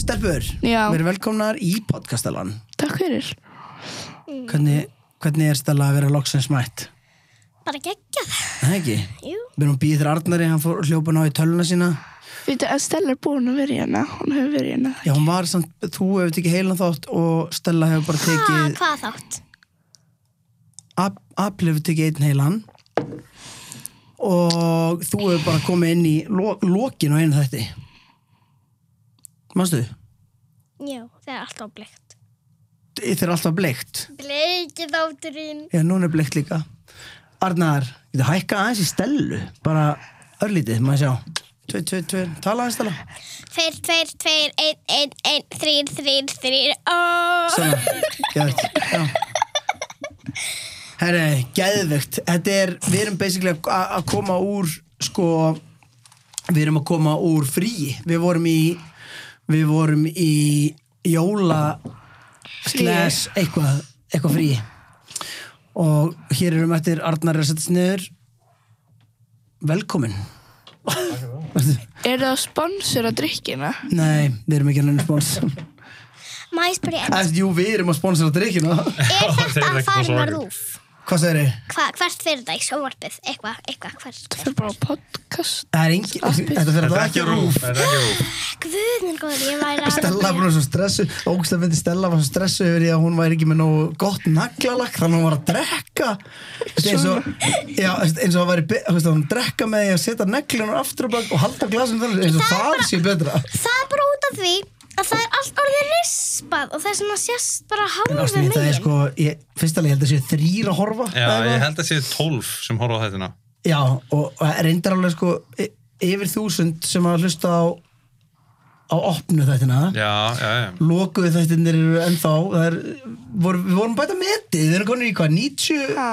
Stelpur, Já. við erum velkomnar í podcastalan Takk fyrir. hvernig, hvernig er Stella að vera loksins mætt? Bara geggjað. Það ekki? Jú. Við erum býð þér Arnari, hann fór hljópan á í töluna sína Veitu að Stella er búin að vera hérna. Hún hefur verið hérna. Já, hún var samt, þú hefur tekið heilan þátt og Stella hefur bara Ha, tekið hvað þátt? Ab- Apple hefur tekið einn heilan og þú hefur bara komið inn í lo, lokin á einu þætti Manstu? Jú, það er alltaf bleikt. Þetta er alltaf bleikt Bleikið þátturinn. Já, núna er bleikt líka Arnar, getur hækka aðeins í Stellu bara örlítið, maður sjá Tvö, tvö, tvö, tala aðeins Stella Tveir, tveir, tveir, einn, einn, einn, þrýr, þrýr, þrýr, ó. Svona, geðvegt Já Herre, geðvegt Þetta er, við erum basically að að koma úr sko, við erum að koma úr frí Við vorum í við vorum í jóla slash eitthvað, eitthvað frí og hér erum eftir Arnar er að setja sniður Velkomin Er það að sponsora drikkina? Nei, við erum ekki að nefnir spons Má ég spyrja einn? Eftir, Jú, við erum að sponsora drikkina Er þeir þetta að eru ekki fara sponsorar. með rúf? Hvað segir þið? Hva, hvert fyrir það í sjónvarpið? Eitthvað, eitthvað, hvert? Það er bara podcast. Það er engin, Appið. þetta fyrir Þetta það er ekki ekki rúf rúf, þetta er ekki rúf. Guðnir góður, ég væri að... Stella var svo stressu, ógst að fyndi Stella var svo stressu yfir því að hún væri ekki með nógu gott naglalakk þannig að hún var að drekka Þetta er eins og, já, eins og að væri be- þú veist, að hún drekka með því að setja neglunar aftur á bak og halda glasum þannig eins og Það er það bara- sé betra Það er bara út af því að það er allt orðið rispað og það er svona sérst bara En hálfu ástum megin. ég, það er sko, ég, fyrst alveg ég held að séu þrýr að horfa Já, eða ég eitthvað. held að séu 12 sem horfa á þetta já og, og reyndar alveg sko y- yfir þúsund sem að hlusta á á opnu þættina Já, já, já lokuðu þættinir eru ennþá það er, vor, við vorum bæta metið við erum konur í hvað, 90 Ha,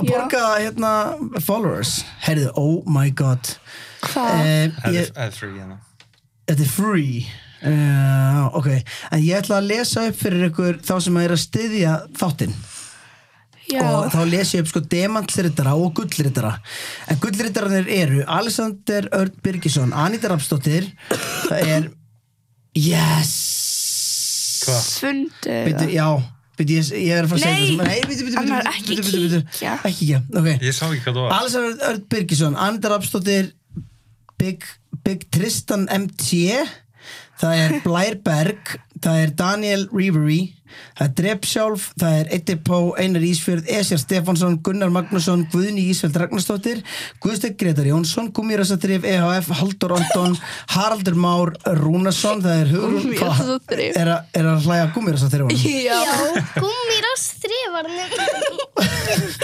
að borga hérna followers herrið, oh my god hvað? Eh, Eða ég- eða þrjú, hérna þetta er free uh, ok, en ég ætla að lesa upp fyrir ykkur þá sem að er að styðja þáttinn Já. og þá les ég upp sko demantliritara og gullritara en gullritararnir eru Alexander Örn Birgisson, Anita Rapsdóttir það er yes Hvað? Fundið. Bíddu, það. já, bíddu, ég, ég er að fara að segja Nei, það sem- Nei, bíddu, bíddu, Annar, bíddu, ekki bíddu, bíddu, bíddu, bíddu. kíkja. Ekki kíkja, ok Ég sá ekki hvað það var Alessar Örn Birgisson, Andar Abstóttir Big, Big Tristan MT Það er Blær Berg Það er Daniel Reavery Það er Drep sjálf, það er Edipó, Einar Ísfjörð, Esjar Stefánsson Gunnar Magnússon, Guðni Ísfjörð Ragnarsdóttir Guðstegg Gretar Jónsson E Gumirasatrif, EHF, Haldur Anton Haraldur Már Rúnarsson Það er Hugrún Gúmmírasaþrif. er, að- er að hlæja Gumirasatrif Já. Já, gúmmirás þrifarnir.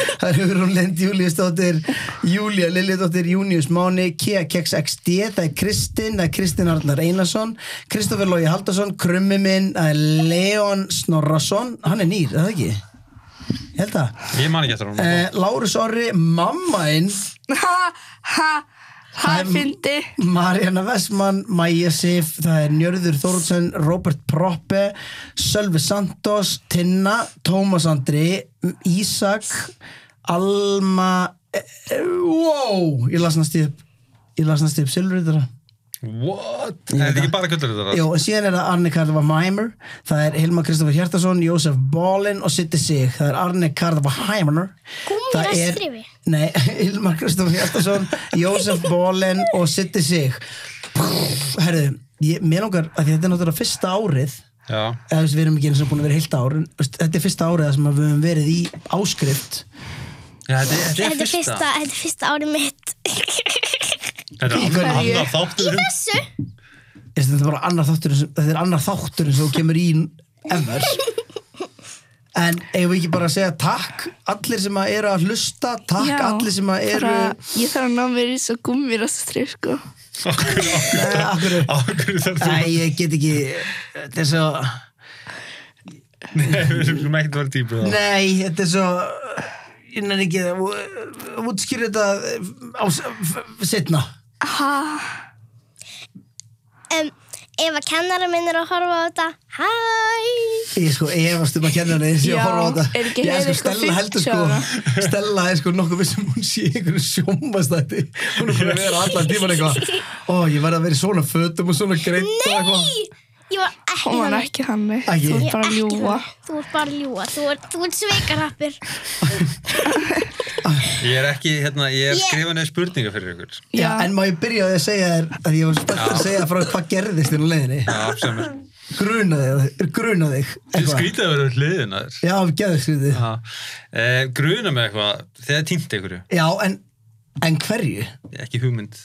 Það eru Hugrún Lind, Júliusdóttir, Júlia Liljadóttir, Június Máni, Kia Keks XD, það er Kristinn, það er Kristinn Arnar Einarsson, Kristoffer Lógi Haldarsson, Krummi minn, það er Leon Snorrason, hann er nýr, er það ekki? Ég held það. Ég man ekki eftir hún Eh, Lárus Orri, mammainn, Ha, ha, ha, Það er- fyndi. Marjana Vessmann, Maja Sif, það er Njörður Þóruldsson, Robert Proppe, Sölvi Santos, Tinna, Tómas Andri, Ísak, Alma, e, e, wow, ég las næst upp, ég las næst upp Silvurðara. What? Er þetta ekki bara gullur þetta? Jó, en síðan er það Arne Karðava Mæmer, það er Hilma Kristoffer Hjartarsson, Jósef Bólin og Sitti Sig, það er Arne Karðava Hæmaner. Gúmmíra skrifi. Nei, Hilma Kristoffer Hjartarsson, Jósef Bólin og Sitti Sig. Herðu, ég, mér langar, að því þetta er náttúrulega fyrsta árið, Já eða þú veist, við erum ekki eins og búin að vera heilt ár, en þú veist, þetta er fyrsta árið þar sem að við höfum verið í áskrift. Já, þetta er- Þetta þetta er fyrsta, þetta er fyrsta árið mitt. Þetta er annar- Hverju? annar þáttur um Þessu, Ég veist, Þetta er bara annar þáttur, sem- þetta er annar þáttur eins og þú kemur í ever. En eigum við ekki bara að segja takk allir sem að eru að hlusta, takk Já, allir sem að eru... bara- Ég þarf að ná mér í svo gúmmirasastrif, sko. Nei, af hverju? Ákveður þetta Nei, ég get ekki, þetta er svo, Nei, við erum ekki að vera dýpið það nei, þetta er svo, ég nenni ekki að útskýra þetta á setna. Ha, um, ef að kennara minn er að horfa á þetta, hæ! Ég sko efast um að kenna henni þessi að Já, horfa á þetta. er ekki Ég, Heiður sko, eitthvað Stella heldur 50 ára? sko, Stella er sko nokkuð við sem hún sé í einhverju sjómbastætti. Hún er búin að vera allan tíman eitthvað. Ó, ég verði að vera í svona fötum og svona greitt og eitthvað. Í, Ég var ekki Hún var þannig. ekki þannig. Ekki? Þú Ég ert er bara að ekki ljúa. þannig. Þú ert bara að ljúa. Þú ert, þú ert sveikarrappur. Ég er ekki, hérna, ég er Ég- skrifað neður spurningar fyrir ykkur. Já, Já, en má ég byrja á því að segja þér að ég var spennt að Já. segja frá hvað gerðist þér á leiðinni Já, sem er. gruna þig, gruna þig Þið eitthvað. skrítið að vera við hliðin að þér. Já, geðu skrítið Já. Eh, gruna með eitthvað, þegar týnt einhverju, Já, en, en hverju? ekki hugmynd.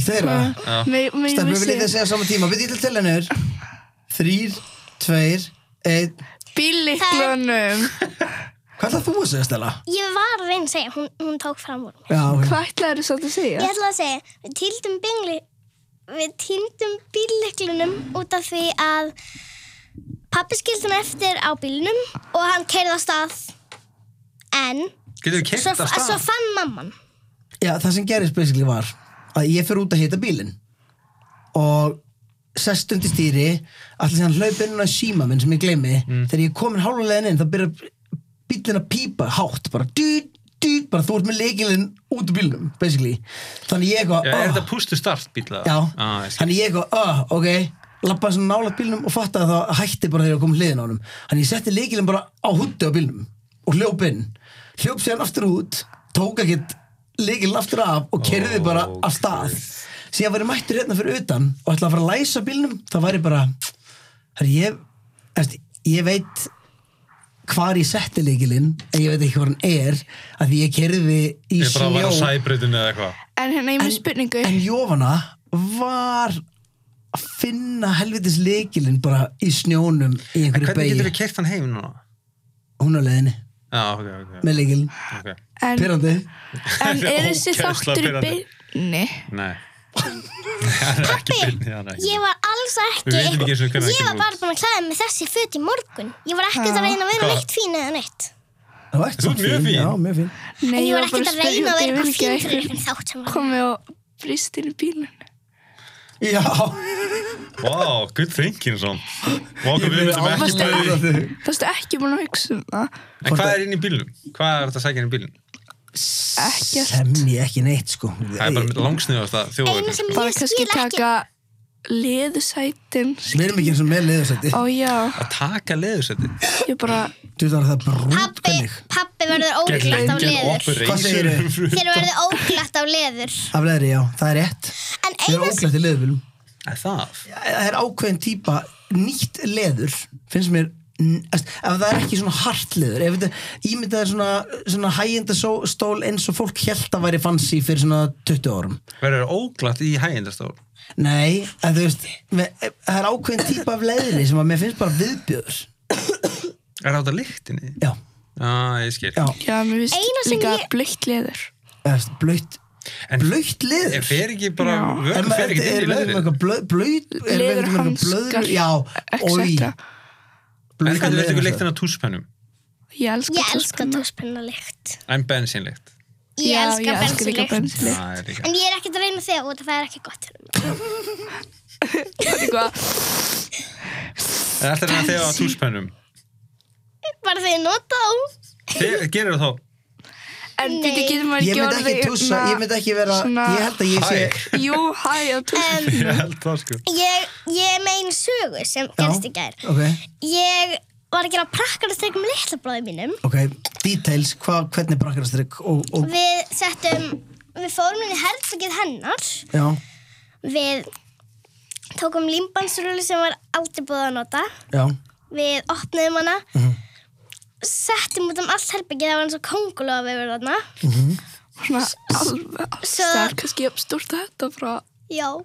Þeirra? Já. Mig- mig Stefnum við vissi- líka að segja á sama tíma Við til teljanur Þrýr, tveir, einn Bílliklunum. Hvað ætlað þú að segja, Stella? Ég var að reyna að segja, hún, hún tók fram úr mér. Já, ok. Hvað ætlaðu þú að segja? Ég ætla að segja, við týndum bingli, við týndum bílleklunum út af því að pappi skildi hann eftir á bílnum og hann keirði á stað. En Getur við svo, kert af svo stað? fann mamman. Já, það sem gerist basically var að ég fyrir út að hita bílinn og sest undir stýri allir sem hann hlaup inn á síma minn sem ég gleymi Mm. þegar ég er komin hálfulegin inn þá byrjar bílinn að pípa hátt bara dýt, dýt, bara þú ert með leikilinn út úr bílnum, basically þannig ég eitthvað, Já, er "Ah." þetta pústu start bíla? Já, Ah, ég skil. þannig ég eitthvað, uh, ok lappaði svona nálægt bílnum og fattaði að það hætti bara þegar ég kom hliðin á honum þannig ég setti leikilinn bara á húttu á bílnum og hljóp inn, hljóp síðan aftur út tók ekkert leikilinn aftur af og kerði bara af stað síðan var ég mættur hérna fyrir utan og ætlaði að fara að læsa bílnum, það var ég bara herri, ég, erst, ég veit hvar ég setti leikilinn en ég veit ekki hvað hann er að því ég kerði í Ég bara var á snjó sæbreytinu eða eitthvað. En hérna, ég með spurningu. En Jófana var að finna helvitis leikilinn bara í snjónum í En einhverju hvernig beigi. getur við kert hann heim núna? Hún á leiðinni Já, ok, ok. með leikilinn. okay. En, Pyrrandi. en er þessi Ógeðslega þáttur í pirrandi. beinni? Nei. hann er ekki Pabbi, byrni, hann er ekki. Ég var alls ekki, Við vitum ekki einu sinni hvenær það ég var kemur bara búin að klæða mig þessi föt í morgun. Ég var ekkert Ha. að reyna að vera Hvað? neitt fín eða neitt. Það var Þú ekkert ert mjög fín. Já, mjög fín. Nei, En ég var bara ekkert að spyrja reyna að út, ég vera vil ekki að eitthvað fín fyrir ykkur einhvern þátt sem var. komi og brist inn í bílun. Já. Vá, good thinking svo. Vá, hvað við veitum Ég ekki er með því. alveg að- Það stu ekki búin að hugsa um það. En hvað er inn í bílnum? Hvað er þetta að sækja inn í bílnum? Ekkert. Sem ég ekki neitt sko. Það er bara langsniðast að Einu sem þjóðvöld. Bara Ég kannski skil ekki- taka leðusætin. Við erum ekki eins og með leiðarsætti. Ó já, Að taka leðursætti. ég bara, Þú veist það er brúnt Pappi, hvernig. pappi verður óglatt af Gengin leður. Hvað segirðu? operation. Þeir verður óglatt af leður. Af leðri, já. Það er rétt. En Við erum einu óglætt í leðurfilm. Er Það? það er ákveðin típa nýtt leður finnst mér n- æst, ef það er ekki svona hart leður ef þetta ímyndað er svona, svona hæginda stól eins og fólk held að væri fancy fyrir svona 20 árum Verður óglatt í hægindastól. nei, en þú veist me- e- það er ákveðin típa af leðri sem að mér finnst bara viðbjöður Er þetta lyktinni? já, Já, ég skil. já, já, mér Eina finnst sem líka ég- blöitt leður. eða blöytt En- blöytt En leður fer ekki bara, Já. Er vökun fer maður- er- ekki inn er í maður með leðrið? eitthvað blöð- blöyt er maður með eitthvað Leðurhanskar, blöðru- já, oi, etc. En blöytt hvernig veistu ykkur leður- lyktin af túspennum? Ég elska Ég elska tóspenna. tóspennulikt. En bensínlykt? Ég Já, elska ég elska líka bensinlikt. Já, bensinlykt. ég líka. En ég er ekkert að reyna þegar út að það er ekki gott. fyrir mig. Það er eitthvað, En Þetta er þegar á túspennum. Bara þegar ég nota á. Þið- Gerir þú þá? en Nei. þetta getur maður ég ekki myndi orðið. ekki tússa, ég myndi ekki vera svona- ég held að ég sé Hæ. ekki. Jú, hæ, á tóspenna. Ég held það sko. Ég, ég er með einu sögu sem Já, gerst í gær. ok Ég var að gera prakkarastreik um litla bróði mínum. Ok, details, hva, hvernig brakkarastrygg og, og Við settum, við fórum inn í herfugið hennar. já, Við tókum límbansrúli sem var aldrei búið að nota. já, Við opnaðum hana. Settum út um allt herfugið, það var eins og kongulofa yfir hana. Svona alveg alls Eh, Svo- það er kannski jafn stórt að þetta frá. Já.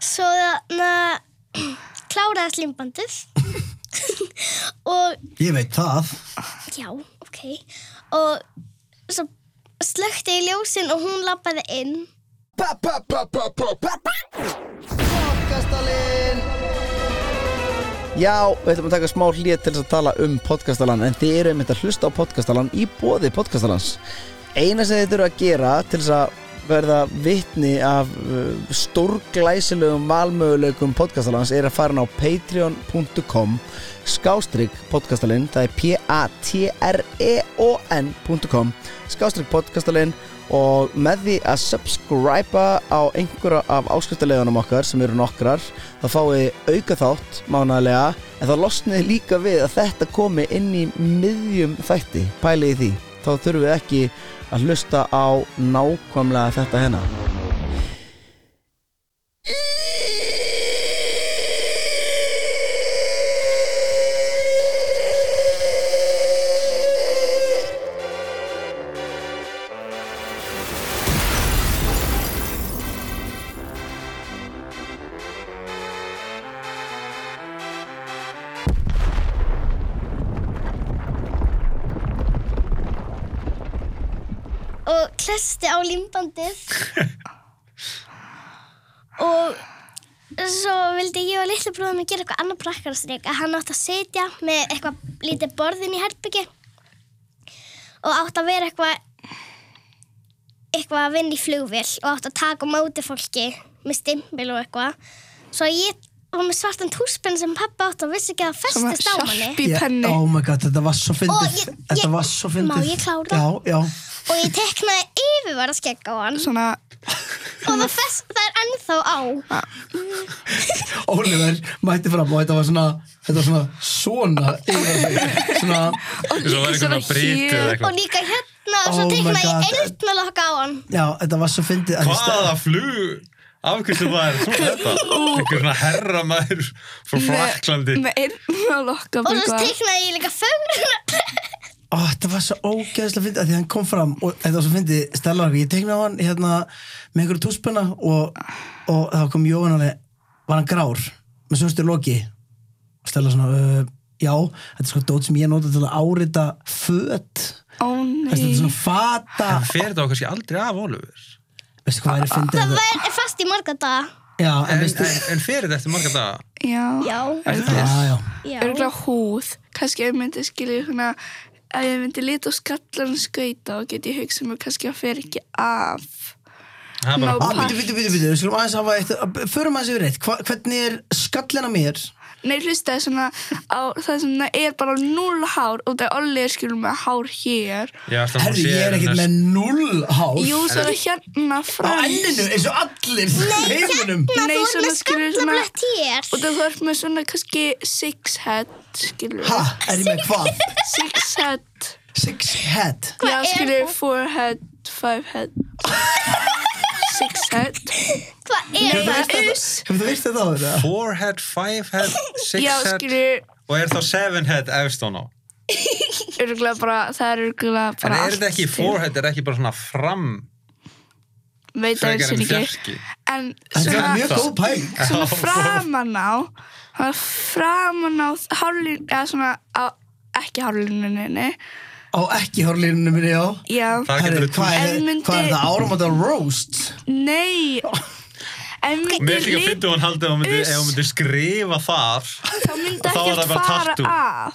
Svo þarna kláraðist límbandið og ég veit það já, ok. Og svo slökti ég ljósin og hún lappaði inn. Podcastalinn Já, við ætlum að taka smá hlýð til þess að tala um podcastalann en þið eru einmitt að hlusta á podcastalann í bóði podcastalans Eina sem þið þurfa að gera til þess að verða vitni af uh, stórglæsilegum valmöguleikum podcastalans er að fara inn á patreon.com skástrygg E podcastalinn það er p-a-t-r-e-o-n.com skástrygg podcastalinn og með því að subscriba á einhverja af áskriftarlegunum okkar sem eru nokkrar þá fáið auka þátt mánaðlega en þá losnið líka við að þetta komi inn í miðjum þætti pælið í því, þá þurfum við ekki að hlusta á nákvæmlega þetta hérna. hennar og klesti á límbandið og svo vildi ég og litlu bróðum að gera eitthvað annað prakkarastrik að hann átti að sitja með eitthvað lítið borðin í herbyggi og átti að vera eitthvað eitthvað að vinna í flugvél og átti að taka á móti fólki með stimpil og eitthvað svo ég var með svartan túspenn sem pappa átti og vissi ekki að það Sem að festist á manni sjálfi í penni oh my god, þetta var svo fyndið Ó, ég- Þetta ég- var svo fyndið Má ég klára? Já, já, og ég teknaði yfirvara skegg á hann Svona og það, fest, það er ennþá á Oliver mætti fram og þetta var svona Þetta var svona svona yfir á sig. Svona Og Þess að líka það er svona eitthvað brítið eða hér og eitthvað. líka hérna og svo Oh my teknaði God. ég eyrnalokk á hann Já, þetta var svo fyndið að því stað- Hvaða flug? Afkvæmstu það er svona þetta? Einhver svona herramæður frá Fraklandi. Með einn og lokka og svo teknaði ég líka fögruna Ó, þetta var svo ógeðslega fyndið að því hann kom fram og þetta var svo fyndið Stella og ég tegna á hann hérna með einhverju túspenna og, og þá kom Jóhann alveg var hann grár með svörstur loki og Stella svona uh, já, þetta er sko dót sem ég nota til að árita föt Ó Veistu, þetta er nei svona fata Það fer þetta kannski aldrei af Oliver. veistu hvað er fyndið það þetta var fast í marga daga já, en En, veistu en, en fer þetta eftir marga daga? Já já, já, já, já. Örgulega húð Kannski ef ég myndi skilja svona Ef ég myndi lita á skallarinn skauta Og get ég hugsað mér kannski að fer ekki af Það er Á, bara Ná- býtu, býtu, býtu, býtu, við skulum aðeins hafa eitt, að- förum aðeins yfir eitt, Hva, hvernig er skallin á mér? Nei, hlustaði svona á það sem það er bara núl hár og það er allir skilur með hár hér. Já, það hérna Herri, ég er ekkert með null hár Jú, svo er það hérna á fremst. enninu, eins og allir í heiminum Nei, hérna. þú er svona með skilur svona... skallablett hér Og það er með svona kannski six head, skilur. Ha, er ég með hvað? Six head. Six head Já, er skilur, four head, five head. Six head. hvað Það er það? er us. Hefur þú veist þetta á þetta? Four head, five head, six Já, head skilur, og er þá seven head efst á ná. örgulega bara, það er örgulega En bara er þetta ekki four head, er ekki bara svona fram Veit að frekar en það er ekki. fjarki? En Þetta er svona- mjög góð pæling svona Já, fór. framan á það er framan á hárlínu eða svona á, ekki hárlínuninni Á ekki hárlínunum minni, já já, Það Herri, getur hvað En er, myndi- hvað er það áramóta roast? nei en myndi Mér finnst ekki að lit, finna hann haldið ef hún myndi, Uss. ef hún myndi skrifa þar þá myndi þá ekki er það bara fara tattoo. af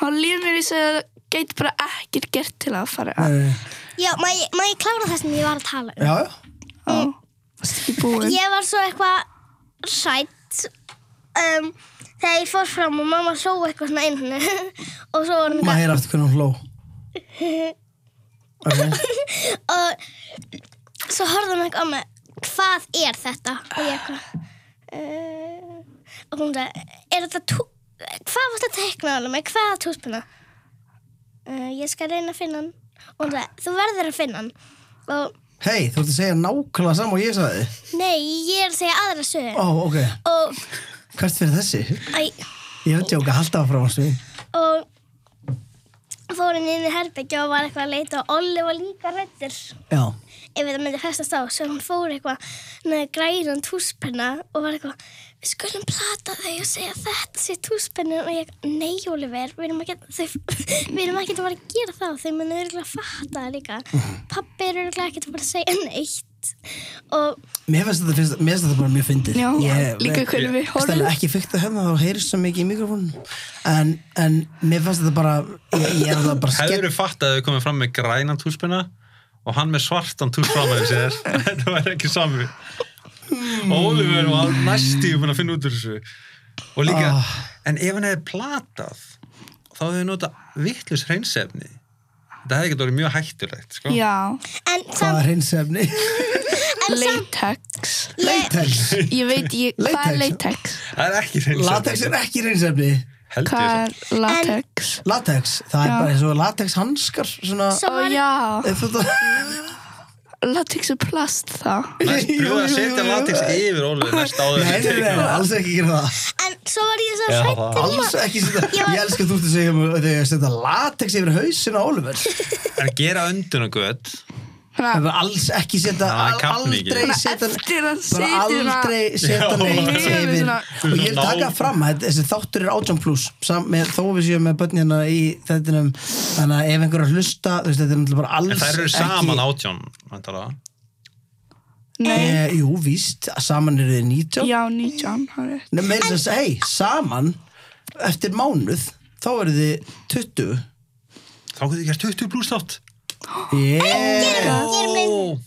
þá líður mér þess að það geti bara ekkert gert til að fara af Nei. já, má ég, má ég klára það sem ég var að tala um Já, já Ó, varstu ekki búin Ég var svo eitthvað sætt um, þegar ég fór fram og mamma hló eitthvað svona inn og svo var hún Má eitthvað heyra aftur hvernig hún hló Ok, og svo horfði hún eitthvað á mig hvað er þetta? og ég eitthvað uh, og hún sagði er þetta tú- hvað varst að tekna alveg með hvaða túspuna? Uh, ég skal reyna að finna hann og hún sagði þú verður að finna hann og hei, þú ert að segja nákvæmlega saman og ég sagði nei ég er að segja aðra sögur Ó, ok, og hvert fyrir þessi? æ, Ég veit ekki að halda áfram á svið og fór hann inn í herbyggja og var eitthvað að leita og Olli var líka rættur ef Já, þetta myndi festast á svo hann fór eitthvað með grænan túspenna og var eitthvað við skulum plata þau og segja þetta sé túspennin og ég, nei Oliver við erum ekki, þau, við erum ekki að fara að gera það þau muni örgulega að fatta það líka pappi er örgulega ekki að fara að segja neitt og mér finnst þetta, fyrst, mér finnst þetta bara mjög fyndið já, Ég- líka ég- hvernig við horfum Stella, ekki fyrkt að hefna þá heyrist svo mikið í mikrofónum en, en mér finnst þetta bara ég, ég er alltaf bara skemmt Hefur þau fatt að þau komið fram með grænan túspina og hann með svartan tús fram að sér Þetta var ekki sami Oliver var næstíu búin að finna út úr þessu Og líka, Ah. en ef hann hefði platað þá hefði notað vittlis hreinsefni Þetta hefði ekki orðið mjög hættulegt, sko. Já, En Hvað samt, er hreinsefni? latex ég, Latex. Ég veit ekki, hvað er Latex. latex? Það er ekki reynsefni. Latex er ekki hreinsefni. Held ég Hvað það. er latex? Latex, það er Já. bara eins og latex hanskar svona... Svo- Ó var- já, Ef Þú latex er plast það Næst pröfaði Jú, að jú, setja jú, jú. latex yfir Ólið næst áður Nei, nei, nei, alls ekki gera það en svo var ég svo Já, hrætt um Alls að ekki setja Ég var- Ég elska að þú ert að segja mér að ég setja latex yfir hausin á Oliver En gera öndun og gött. Það Svona, var alls ekki setja Það al- er kafni ekki. Aldrei svona setja eftir að Bara setja það aldrei setja Já. neitt Nei, yfir svona- Og ég vil taka fram að þessi þáttur er 18 plus sam, með, Þó við séum með börn hérna í þettinum Þannig að ef einhver er að hlusta þú veist, Þetta er náttúrulega bara alls En þær eru saman átján, vantala. Nei, Eh, Jú, víst, saman eru þið 19 já, nýtján það er rétt. Nei, meira þess að, hei, saman eftir mánuð, þá eru þið 20 Þá getur þið gert 20 pluss þátt. Yeah, Ó,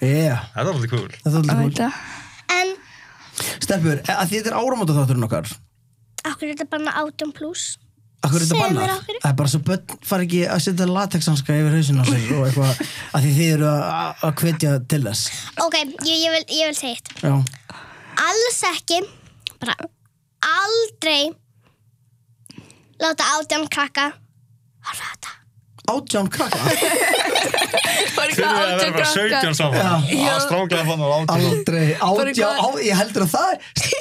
yeah Það er alveg kúl. Það er Ég alltaf veit það. En cool Stelpur, að því þetta er áramóta þátturinn okkar okkur er þetta bara 18 pluss Akkur er þetta Segðu mér bannað? af hverju. Það er bara svo börn fara ekki að setja latexhanska yfir hausinn á sig og eitthvað að því þið eru að- að hvetja til þess Ok, ég, ég, vil, ég vil segja eitt Já, Alls ekki Bara aldrei Láta átján krakka Horfa á þetta átján krakka Bara eitthvað Þeir eru að vera bara átján 17 krakkar. saman. Já. Það er stránglega fann á átján. Aldrei, Bara átján, á, hvað- ég heldur að það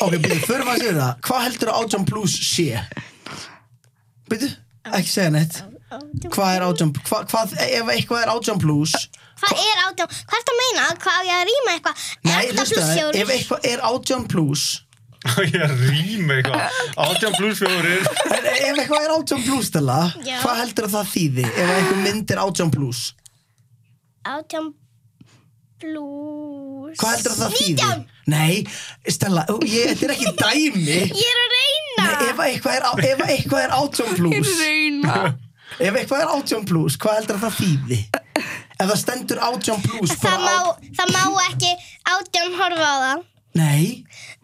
Ok, byrju, förum að segja það Hvað heldur að átján plus sé? Byrju, ekki segja neitt Átján. Hvað er átján, hva, hvað, ef eitthvað er átján plus Hvað er átján? Hvað er það að meina? Hvað á ég að rýma eitthvað? Nei, Átta hlusta, pluss fjórir. ef eitthvað er átján plus Og ég rým eitthvað. Átján pluss fjórir. En ef eitthvað er átján plus, Stella Já. Hvað heldur að það þýði? Ef eitthvað mynd er átján plus Átján pluss Hvað heldur það þýði? 19. Nei, Stella, ó, ég, þetta er ekki dæmi Nei, Ég er að reyna ef eitthvað er, á- ef eitthvað er átján plus Ég reyna Ef eitthvað er átján plus, hvað heldur að það þýði? Ef það stendur átján plus það, bara á- má, það má ekki átján horfa á það Nei,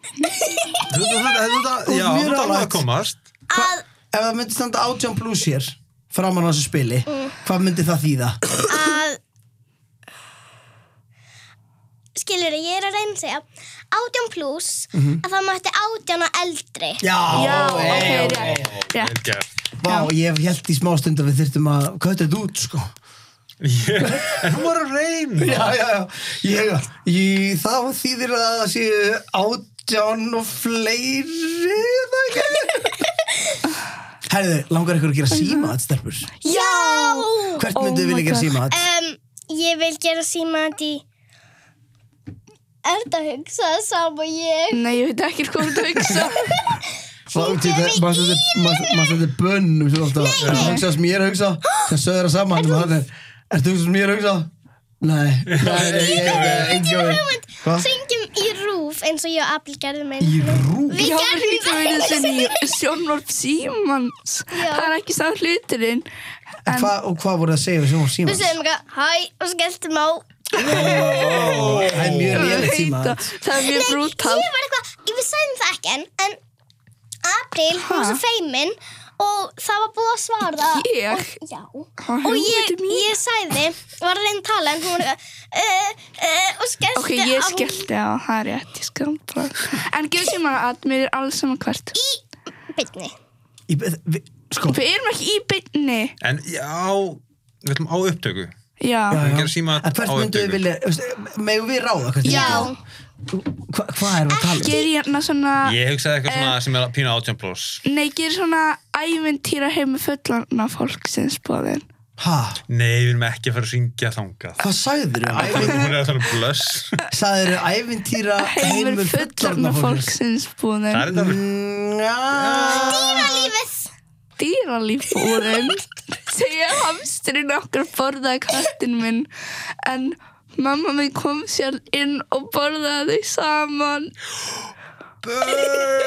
Þú veist þetta, þetta, þetta, Þú já, ert mjög þetta er alveg að nálægt. komast. Að, ef það myndi standa átján plus hér Framan á þessu spili Mm. Hvað myndi það þýða? að Skilur, ég er að reyna að segja Átján pluss Mhm. Að það mætti átján og eldri Já, Já, ok, ey, rétt Rétt. Vel gert. Vá, ég held í smástund að við þyrftum að kötta þetta út, sko Ég- En hún var að reyna. já, já, já, ég, ég, þá þýðir það að það séu átján og fleiri það ekki Herðu, langar ykkur að gera síma að stelpur? Já Hvert Oh myndið þið my vilja gera God. síma að? um, Ég vil gera síma að því Er þetta að hugsa það sama og ég? Nei, ég veit ekki hvað þú ert að hugsa Maður þetta bönnum svo alltaf Það hugsa sem ég er að hugsa Það söður að saman og það er Ertu hugsa sem ég er að hugsa? Nei, nei, nei, ég er ekki að Hvað? Syngjum í rúf eins og ég og Abel gerðum Í einu rú? Við Já, gerðum við getum verið sinni sjónvarp símans Já. Það er ekki sá hluturinn En Hva, og hvað voru það að segja við sjóma Við símans? segjum eitthvað, hæ, og skelltum á Það er mjög Ég lélega veit síma það, það er mjög brútal Ég var eitthvað, ég við segjum það ekki en, en April, hún Ha? var svo feimin og það var búið að svara það Ég? Og, já, Hvað, og hún ég, veitir mér? ég sagði var að reyna að tala en hún var eitthvað uh, uh, og skellti Ok, ég á skellti á, það er rétt, ég skellti á En gefur sér maður að mér er alls saman hvert byrni Í- við- Sko, Við erum ekki í beinni En já, við ætlum á upptöku. Já, já. Gera síma En hvert á myndu upptöku. við vilja, megum við ráða hvert Já. Hvað hva er við að tala? um? gerir hérna svona Ég hugsaði eitthvað Eh. svona sem er pínu átján pluss. Nei, gerir svona æventýra heim með fullana fólksins bóðin Ha, Nei, við erum ekki að fara að syngja þangað. hvað sagður Hún þau? er að tala um blöss. Sagður þau ævintýra Heimur fullorna fólksins Það er búðin þetta alveg Njá Lífið, Dýralíf búðin Segja hamsturinn okkur borðaði kattin minn En mamma minn kom sér inn og borðaði þau saman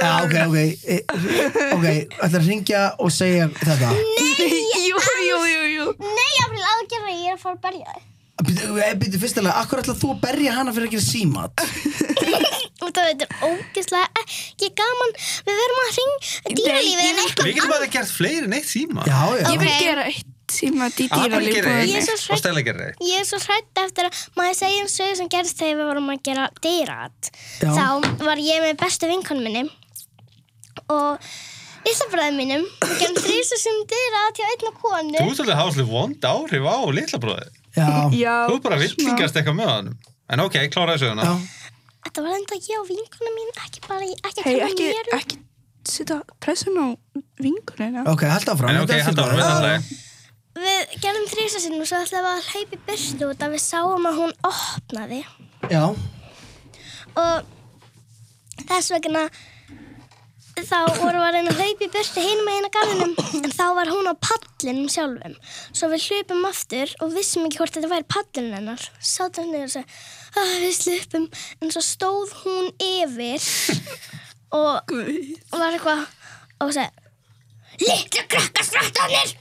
Já, ok, ok e- Ok, ætlar að ringja og segja þetta Nei, jú, jú, jú, jú nei April, á að gera ég er að fara að berja þig Býttu fyrstilega, akkur ætlar þú að berja hana fyrir að gera símat? og það veitir ógeðslega ekki gaman, við verum að ring dýralífið en Nei, eitthvað Við getum bara gert fleiri en eitt síma. Já, já Ég vil Ok. gera eitt síma í Að bara gerir dýralíbúðinni. Ég er svo eitt hrædd. og Stella gerir eitt. Ég er svo hrætt eftir að maður segja um sögur sem gerst þegar við vorum að gera dýrat. Já. Þá var ég með bestu vinkonum minni og yllabræðum mínum. Við gerum þrýsa sem dýrat hjá einna Þú konu. ert alveg að hafa svolítið vond áhrif á litla bróðið. já, Já, Þú er bara smá. villingast eitthvað með hann. En ok, hérna. kláraði söguna. já. Þetta var enda ég og vinkona mín, ekki bara ég, ekki að Hei, kenna ekki, mér um. ekki setja pressun á vingunina. ok, held áfram En ok, þetta er hættu allt í ára, lagi. þetta er Við gerum þrýsa sinn og svo ætlum við að hlaupa í burtu út að við sáum að hún opnaði. já, og þess vegna þá vorum við að reyna að hlaupa í burtu hinum að eina garðinum en þá var hún á pallinum sjálfum svo við hlupum aftur og vissum ekki hvort þetta væri pallin hennar sátum niður og sagði að við slupum en svo stóð hún yfir og var eitthvað og sagði litlu krakkastrættanir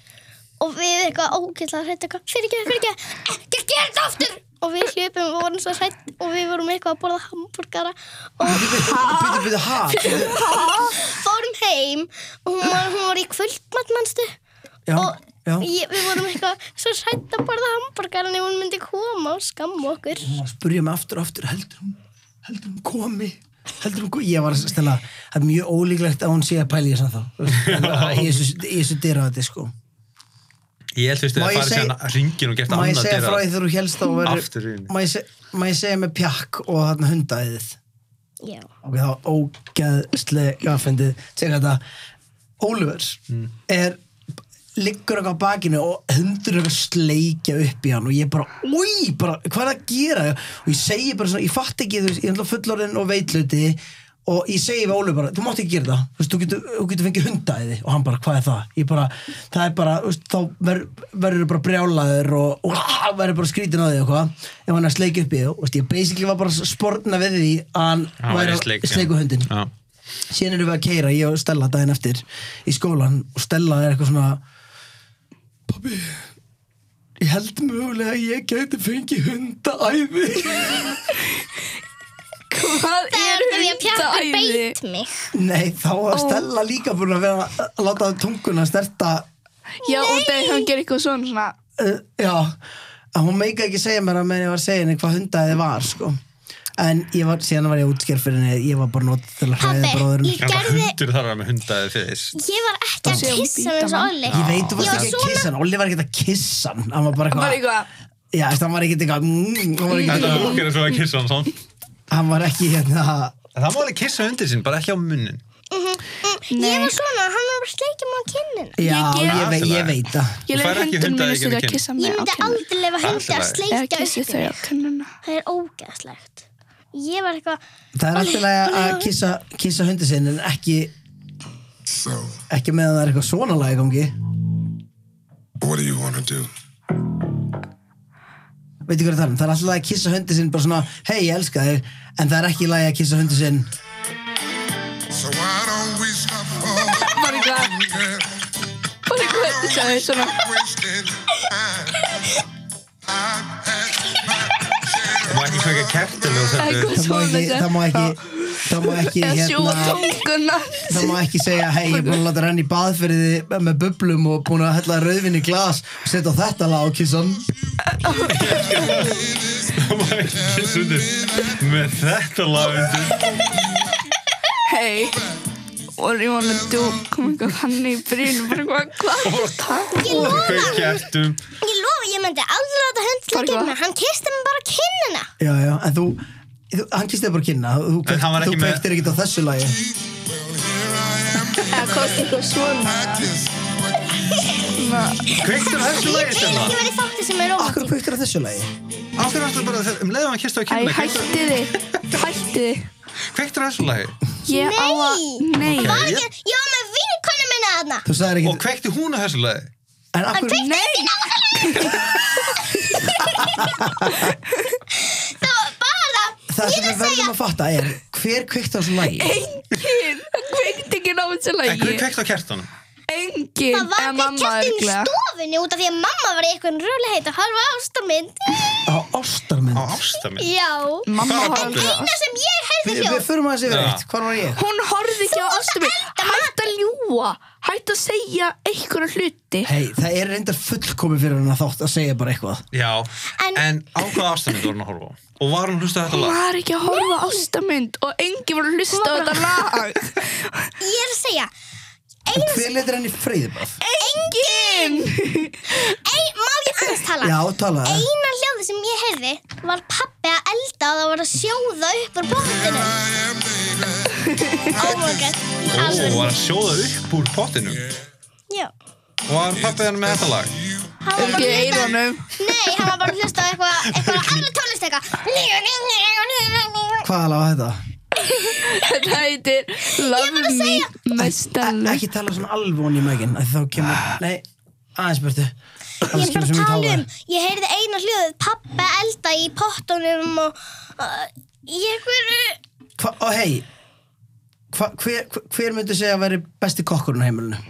og við eitthvað ógætla hrætt eitthvað fyrir ekki, fyrir ekki, ekki gera þetta aftur og við hljöpum og vorum svo hrætt og við vorum eitthvað að borða hambúrgara og býtu, býtu, ha fórum heim og hún var, hún var í kvöldmatt mannstu já, og já, ég, við vorum eitthvað svo hrætt að borða hambúrgara en hún myndi koma og skamma okkur Hún var að spurja mig aftur og aftur heldur hún, heldur hún komi heldur hún komi, ég var að stela það er mjög ólíklegt að hún sé að pæla ég samt þá En, að í þessu- í þessu dyra þetta sko Ég held fyrst Má að ég það farið seg- síðan að ringin og gert Má ég annað segja dyra. frá því þegar þú helst að Aftur í henni. Má ég seg- má ég segja með pjakk og þarna hundaðið já, Ok, það var ógeðslega gafendið Segja þetta Oliver er liggur eitthvað á bakinu og hundur er eitthvað að sleikja upp í hann og ég bara, úi, bara, hvað er að gera og ég segi bara svona, ég fatt ekki þú veist, ég er alltaf fullorinn og veitluti og ég segi við Óli bara, þú mátt ekki gera það þú, veist, þú, getur, þú getur fengið hundaæði og hann bara, hvað er það? Ég bara, það er bara, þú veist, þá verður verður bara brjálaður og, og verður bara skrítin á því og hvað ef hann er að sleikja upp í þú, veist, ég basically var bara að sporna við því að hann Já, væri ég sleik, að já. sleiku hundin Já. síðan erum við að keira, ég og Stella daginn eftir í skólan og Stella er eitthvað svona Pabbi ég held mögulega að ég gæti fengið hundaæði Hvað er þegar ég pjakkur hundaæði? beit mig Nei, þá var Ó. Stella líka búin að vera að láta tunguna sterta Já, og þegar hann gerir eitthvað svona svona uh, já, að hún meika ekki segja mér að meðan ég var að segja henni hvað hundaæði var sko. en ég var, síðan var ég útskjær fyrir henni, ég var bara notið til að hræða pabbi, bróðurinn ég En hvað gerði hundur þarf að vera með hundaði fyrst? ég var ekki að sé hún kissa bíta hann eins og mann. Olli Ég veit, þú varst ekki Ég var að kissa hann, Olli var ekki að kissa hann Hann var bara Bara eitthvað eitthvað Já, þú veist, hann var ekki eitthvað mm, Hann var Þetta ekki, er okkar svo að kissa hann svona. hann var ekki hérna En það má alveg kissa hundir sinn, bara ekki á munnin. ég Nei, var svona, hann var bara að sleikja mig á kinnina Já, Ég ég, gef- vei, ég veit það ég Þú færð leir ekki hundum mínu hundaæði stund gegnum að kinn. kissa Ég mig á myndi kynna aldrei lefa Það er hundi að allt í Eða kissi sleikja upp lagi. í þau á mig. kynnuna Það er ógeðslegt. Ég var eitthvað, Það er alltaf lega að kissa, kissa hundi sinn en ekki ekki meðan það er eitthvað svona lag í gangi What do you want to do? veitu hvað ég er að tala um, það er alltaf lega að kissa hundi sinn bara svona, hei ég elska þig en það er ekki lega að kissa hundi sinn So why don't we stop falling Bara eitthvað, girl? bara eitthvað Það er svona wasting time? I've had my share Það má ekki kveika kertilu og Eitthvað þetta. það má ekki það má ekki, það má ekki Eða sjúa hérna, tunguna það má ekki segja hei ég er búin að láta renna í bað fyrir þig með bublum og búin að hella rauðvinni glas og setja á þetta lag og kissa hann Það má ekki kissa hundir með þetta lag undir. Hei Og ég var að dú Kom eitthvað hann í brínu Bara eitthvað, hvað? Takk ég lofa, Kveik kertum. ég lofa, ég myndi aldrei láta hund Bara sleikja hvað? mig. Hann kisti mig bara á kinnina. já já, en þú, þú hann kissa þig bara kynna þú, En hann var þú ekki með- kvektir ekkert á þessu lagi Eða komst eitthvað svona practice. Kveiktur þessu Ég lagi vil stella. ekki verið þátti sem er Akkur rómantík. kvektir á þessu lagi? Af hverju ætlaðu bara þegar um leiðum hann kissa á Æ, kynna? hætti þið Hætti þið Kveiktur þessu lagi. Ég á að Nei Ok. Ég, ég var með vinkonu minna þarna. Þú sagðir Og ekki kveikti hún á þessu lagi. En akkur, Nei Það var bara, það sem við verðum að fatta er Hver kveikt á þessu lagi? Engin Það kveikti ekki ná þessu En hvernig lagi kveikti á kertunum? Engin það var Eða ekki mamma kjartin í örglega stofunni út af því að mamma var í eitthvað röðlega heit að halva ástamynd. á ástarmynd Á ásta mín. Já. Mamma Hvað horfði átti? á eina sem ég hefði Við, við hljóð förum aðeins yfir Já. eitt, hvað var ég? Hún horfði ekki á ástum minn Hætt að ljúa Hætt að segja einhverja hluti Hei, það er reyndar fullkomi fyrir hennar þátt að segja bara eitthvað Já, En- en, á hvaða ásta mín var hún að horfa á? Og var hún að hlusta á þetta Hún lag? var ekki að horfa á ástamund og engi voru að hlusta á þetta lag Ég er að segja En hver letur henni freyðibað? Engin ein, Má ég aðeins tala? Já, talaði Eina hljóði sem ég heyrði var pappi að elda og það var að sjóða upp úr bóttinu Oh my god í Ó, alvöru. var að sjóða upp úr pottinum Já. Var pappið hann með þetta lag? Hann var Ekki í bara að hlusta- eironum Nei, hann var bara að hlusta á eitthvað eitthvað annað tónlist eitthvað Hvað alveg var þetta? Þetta heitir Love Me E- Mestalu um- Ekki tala svona alveg onni í mækin Þá kemur, Ah. nei, aðeins burtu Ég Annars er bara kemur að svo mikið tala um, hávaði. ég heyrði eina hljóðið pappa elda í pottunum og uh, í einhverju Hva, og hei hva, hver, hver- hver myndi segja að veri besti kokkurinn á heimilinu?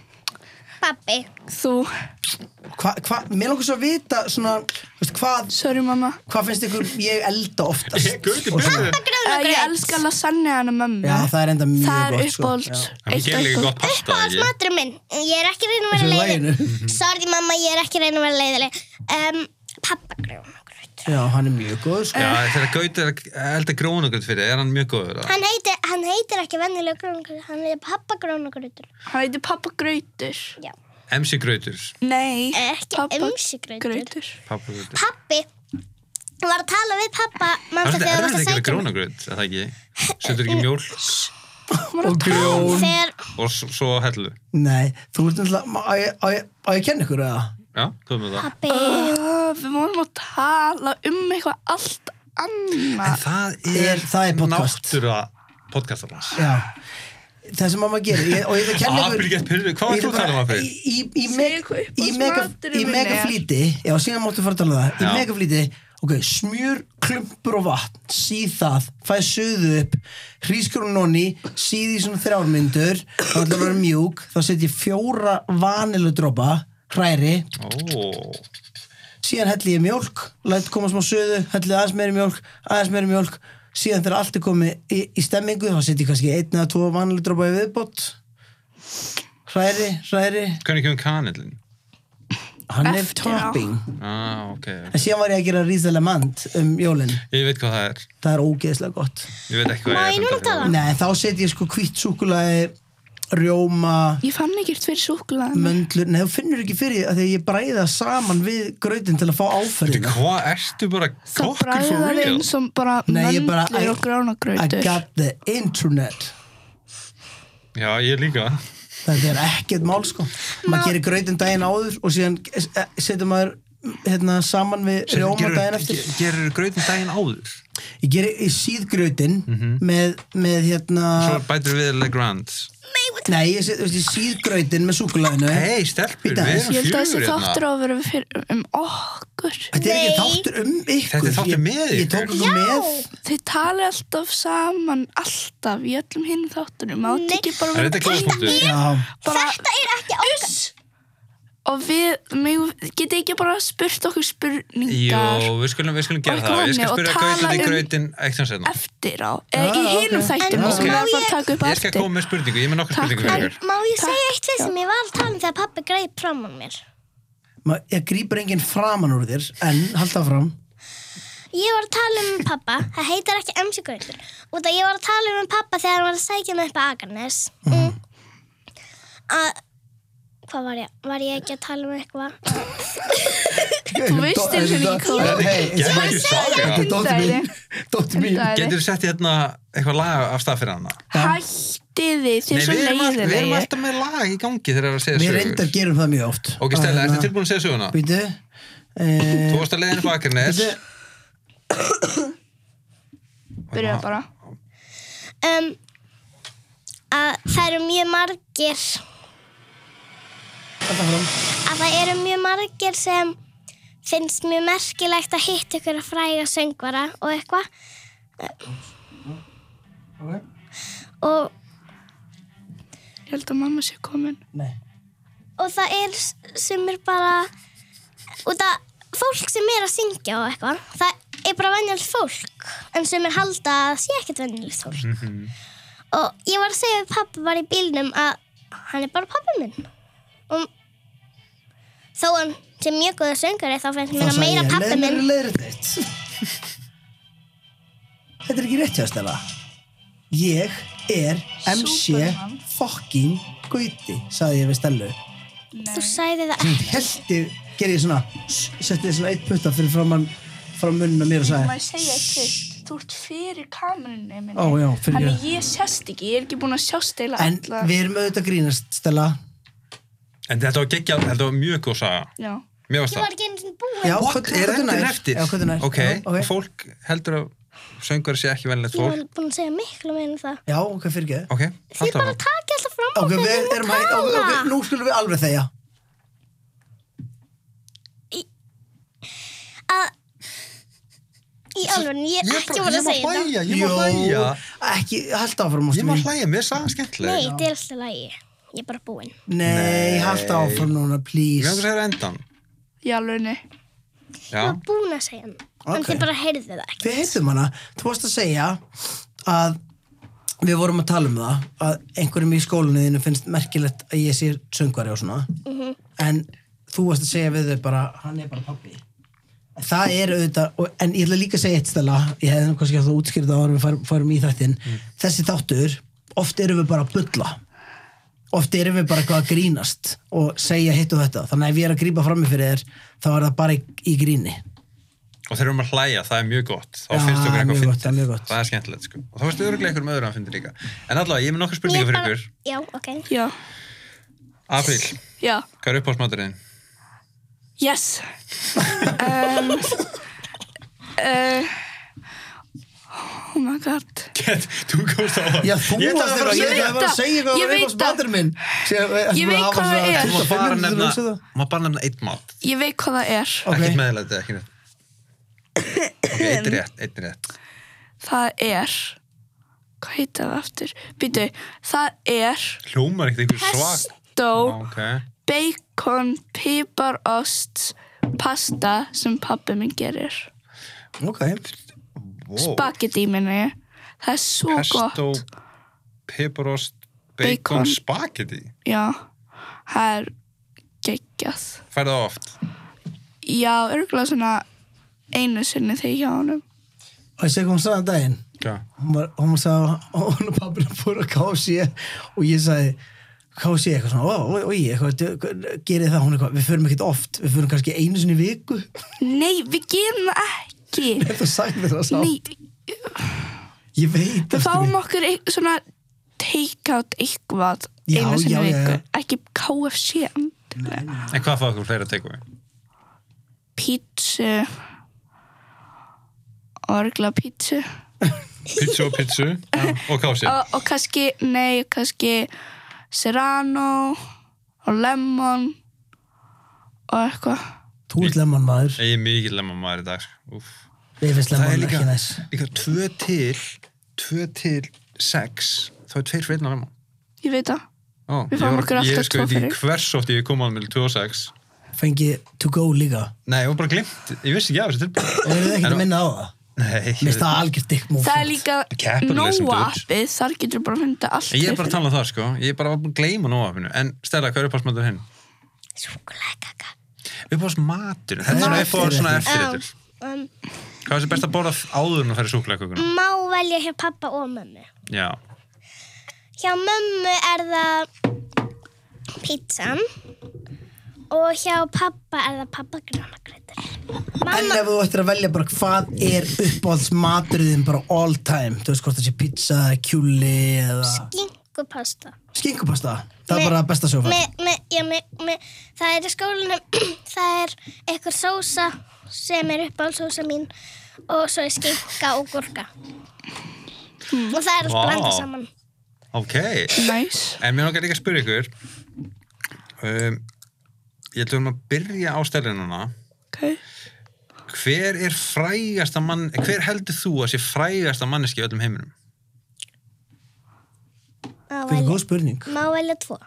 pappi. Þú, Hva, hva, mér langar svo að vita svona, veist, hvað, sorry mamma hvað finnst ykkur ég elda oftast? Ég gauti byrjuði Eh, Ég Grjónagraut. elska lasagna hana mömmu Já, það er enda mjög Það er gott sko. uppáhalds Já. Hann Eitt gerir líka uppáhalds. gott pasta, Uppáhalds ekki? maturinn minn. Ég er ekki að reyna að Þessu vera leiðileg. laginu. Sorry mamma, ég er ekki að reyna að vera leiðileg. Um, pappa grjónagraut. Já, hann er mjög góð Eh, sko. Já, þegar gauti er að elda grónugrönd fyrir, er hann mjög góður að Hann, heiti, hann heitir ekki vennilega grjónagraut, hann heitir pappa grjónagrautur. Hann heitir pappa Grautur Já. MC Grautur Nei, Ekki MC Grautur. Grautur Pappa Grautur Pappi var að tala við pappa Það er mamma svolítið þegar þú erfitt varst að að gera sækja um mig. grónugrönd, er það ekki? Setur ekki mjólk og grjón Þegar og s- svo hellu Nei, þú ert náttúrulega má- á ég- á ég- á ég að kenna ykkur eða? Já, hvað með það? pappi Uh, Við vorum að tala um eitthvað allt annað En það Er- er, það er podcast. náttúra podcastarnas Já Það sem mamma gerir ég, og ég ætla að kenna Ah, ykkur Birgit, pyrrðu, hvað varst Ég þú að ætla tala um bara- að fyrir? Í, í, í, Segðu meg, hvað í, uppáhalds mega, í maturinn minn mega er. flýti Já, síðan máttu fara að tala um það Í Já. mega flýti, ok, smjur, klumpur og vatn Síð það, fæ söðu upp Hrískur og nonni Síð í svona þrjármyndur Það ætla að vera mjúk, þá set ég fjóra vaniludropa, hræri Ó, síðan helli ég mjólk, læt koma smá söðu helli aðeins meiri mjólk, aðeins meiri mjólk síðan þegar allt er komið í, í stemmingu þá setjum ég kannski einn eða tvo vanlega dropa í viðbót hræri, hræri hvernig kemur kanillin? hann er Eftir á. topping Ah, ok en síðan var ég að gera rísalemant um jólin Ég veit hvað það er það er ógeðslega gott Ég veit ekki hvað Má ég ég er um. núna tala? fyrir. Nei, þá setjum ég sko hvitt súkulaði rjóma, Ég fann ekkert fyrir súkulega möndlur Nei, þú finnur ekki fyrir því að því að ég bræða saman við grautin til að fá Veitu, áferðina Hvað ertu bara Það kokkur for bræðar real? eins og bara Nei, ég bara möndlur og I gránagrautur got the internet Já, ég líka þetta er ekkert mál sko maður gerir grautin daginn áður og síðan eh, setur maður hérna, saman við rjóma daginn eftir Gerur gröðin daginn áður ég, geri, ég síð grautin með, með hérna Svo bætir við Legrand nei, ég, set, ég síð grautin með súkulæðinu Hei, stelpur, Bíddu við aðeins. erum Ég held að fjögur þessi þáttur hérna á að vera fyrir, um okkur þetta er ekki Nei. þáttur um ykkur Þetta er þáttur Ég- með ég tók ykkur. ykkur með Þið tali alltaf saman Alltaf í öllum hinn þáttunum Má þetta Nei. ekki bara Er vera þetta klóspunktur? já, bara, Þetta er ekki okkar Og við megum- Getið ekki bara spurt okkur Jó, spurningar við skulum, við Og skulum gera það Ég skal gronni og spyrja tala gröðin í um- gröðin eitthvað senna eftir á eða í Ah, hinum ok. þættum En sem má maður bara ég- taka upp Ég skal eftir koma með spurningu, ég er með nokkur Takk spurningu fyrir. fyrir ykkur Má ég Takk, segja eitt við já. sem ég var að tala um þegar pappi greip fram á mér Ma- ég grýpur enginn framan úr þér en halda fram Ég var að tala um pappa, það heitir ekki MC Grautur Út að ég var að tala um pappa þegar hann var að sækja mig upp að Akarnes Mhm. mm. Að, hvað var ég? Var ég ekki að tala um eitthvað? þú veist einu sinni ekki hvað- Þetta er saga. þetta er dóttir mín dóttir mín Dæri. Getur þú sett hérna eitthvað lag af stað fyrir hana? Hættiði þið er Nei, svo við erum, all, við erum leiðilegi alltaf með lag í gangi þegar það er að segja við sögur reyndar gerum það mjög oft Ok, Stella, Að, ertu hérna, tilbúin að segja söguna? Býtu Þú eh, varst að leiðinu bakarnes Býtu Byrja bara Um, að það eru mjög margir Halda fram Að það eru mjög margir sem finnst mjög merkilegt að hitta ykkur að fræga söngvara og eitthvað Ok. og Ég held að mamma sé komin Nei og það er s- sem er bara út að fólk fólk sem er að syngja og eitthvað það er bara venjulegt fólk en sem er halda að sé ekkert venjulegt fólk Mhm. og ég var að segja við pappa bara í bílnum að hann er bara pappi minn og þó hann sem mjög góður söngari þá finnst mér að meira pappi minn Leirnit. Þetta er ekki rétt hjá Stella. Ég er MC Superman. fucking Gauti, sagði ég við Stellu. þú sagði það Hún heldi, gerði ég svona, setti svona eitt putta fyrir framann, fram munna mér og sagði maður segja eitthvað þú ert fyrir kamerunni minni Ó, já, fyrir þannig ég sjást ekki, ég er ekki búin að sjást eila En við erum auðvitað að grínast, Stella. En þetta var geggjað, þetta var mjög góð saga. já, Mér varst ég var það. ekki einu sinni búin Já, What? hvað- Er hvað þú þetta nær? eftir? Já, hvað þú nær? Ok, Já, ok. fólk heldur að söngur sé ekki velnett ég var fólk. búin að segja miklu meira en það Já, ok, fyrir ekki. Ok, þið þetta bara var. takið alltaf fram á Ok, hvernig við hún erum að, ok, ok, talar. nú skulum við alveg þegja. í alveg, ég er Ég ekki bara- voru ég að má segja þetta hlæja, ég má hlæja. ekki, held áfram, Ég ástin má mín. hlæja, mér sagði skemmtilega. nei, þetta er alltaf lægi ég er bara búin Nei, held áfram núna, Mér please. langar að segja endan. í alvegni Já, Ég var búin að segja hann En Ok. þið bara heyrðu það ekki Við heyrðum hana, þú varst að segja að við vorum að tala um það að einhverjum í skólinu þínu finnst merkilegt að ég sé söngvari og svona en þú varst að segja við þau bara hann er bara pabbi það er auðvitað, og- en ég ætla líka að segja eitt stela, ég hefði nú kannski átt að útskýra það áður en við færum, færum í þættin Mm. þessi þáttur, oft erum við bara að bulla oft erum við bara eitthvað að grínast og segja hitt og þetta, þannig að ef ég er að grípa frammi fyrir þér, þá er það bara í, í gríni og þegar við erum að hlæja, það er mjög gott. Þá Já, finnst okkur mjög eitthvað gott, það er mjög fyndið. gott. Það er skemmtilegt, sko. Og þá finnst öðruglega einhverjum öðrum að fyndi líka. En allavega, ég er með nokkar Ég spurningar er fyrir bara- ykkur. Já, ok já, April, já, hvað er uppáhaldsmaturinn? yes um, uh, oh my god Get, þú komst á það. Já, þú Ég ætlaði varst að að fara að segja segja það það. var að segja um hvað Ég var veit uppáhalds það. matur minn Síðan- Ég veit hafa hvað svona það er. 25 Þú maður bara mínútur til nefna, að hugsa það. þú maður bara nefna eitt mat. ég veit hvað það er Ok. Ekkert meðlæti, ekki neitt. Ok, eitt rétt, eitt rétt. það er hvað heitir það aftur býtu, það er Hljómar ekkert einhver svag. pesto Ok. bacon, piparost pasta sem pabbi minn gerir Ok, Wow. spagetti minni ég. það er svo Pesto, gott piparost, Bacon. bacon, spagetti. já, það er geggjað Færðu það oft. já, örgulega svona einu sinni þegar hjá honum og ég segi hvað hún sagði um daginn Já. hún var, hún var sagði, hún og pappina fór að kási og ég sagði kási eitthvað svona, ó, ó, ó, eitthvað gerir það, hún eitthvað, við förum ekkert oft við förum kannski einu sinni í viku nei, við gerum það ekki þetta sagði það sá, nei, ég veit við ástin mín. fáum okkur eit- svona take out eitthvað Já, einu sinni já, já, í viku, já. ekki KFC endilega En hvað fáðu okkur fleira að teka við? pítsu orgla pítsu Pítsu og pítsu og kási. og, og kannski, nei, kannski serrano og lemon og eitthvað þú ert lemon maður, Ég er mikið lemma maður í dag. sko. Úff. ég finnst Það er lemon líka, ekki næs líka tvö til, tvö til sex, þá er tveir fyrir einn á lemma. ég veit það, Ó, Við fáum ég var- okkur alltaf ég sko tvo veit fyrir. ekki hvers oft ég kom að með 2006 fengi to go líka, nei, ég var bara glimt, ég vissi ekki af og þessu tilbúin eru þið ekkert að minna á það nei, mér finnst ég- það algjört dick move það er líka Capitalism, dude. nóappið, þar getur bara að funda allt ég er bara að tala um það sko ég er bara að gleyma nóg af hennu en Stella, hvað er uppáhaldsmatur hinn? Súkulega kaka uppáhaldsmatur, þetta er svona Matur, uppáhalds svona ekki. eftirréttur um, hvað er þessi best að borða áður en að færa súkulegkökuna? Má velja hjá pappa og mömmu já, Hjá mömmu er það pizzan og hjá pappa er það pappa grannakrættur En ef þú ættir að velja bara hvað er uppáhalds maturðin bara all time Þú veist hvort það sé pizza, kjúli eða Gingupasta skinkupasta Það Me- er bara besta sjófa me, me, já, me, me, Það er í skólanum það er einhver sósa sem er uppáhaldsósa mín og svo er skinka og gúrka Hmm. og það er allt Vá. blanda saman ok næs en mér langar líka að spyrja ykkur um, ég ætlum að byrja á stellinuna okay. hver er frægasta mann hver heldur þú að sé frægasta manneski í öllum heiminum? Má Það er velja, góð spurning má velja tvo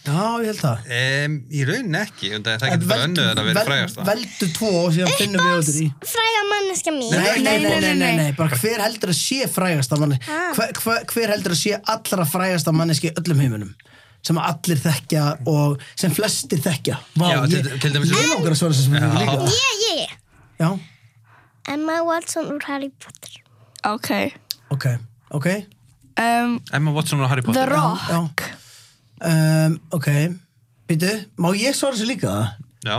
Já, ég held það Um, í raunin ekki, undan það getur bara önnuð en að vera frægast það. Veldu tvo sem finnum við út í Fræga manneska mín Nei, nei, nei, nei, nei, nei, nei. bara hver heldur að sé frægasta manni hver, hver, hver heldur að sé allra frægasta manneski í öllum heiminum sem allir þekkja og sem flestir þekkja Vá, Já, til- ég, til dæmis- ég langar að svara þessum Já. spurningu líka Ég, ég, ég Já, Emma Watson úr Harry Potter Ok. ok, ok Um, Emma Watson og Harry The Potter. Rock. Já. um, Ok, býtu, má ég svara þessu líka? Já,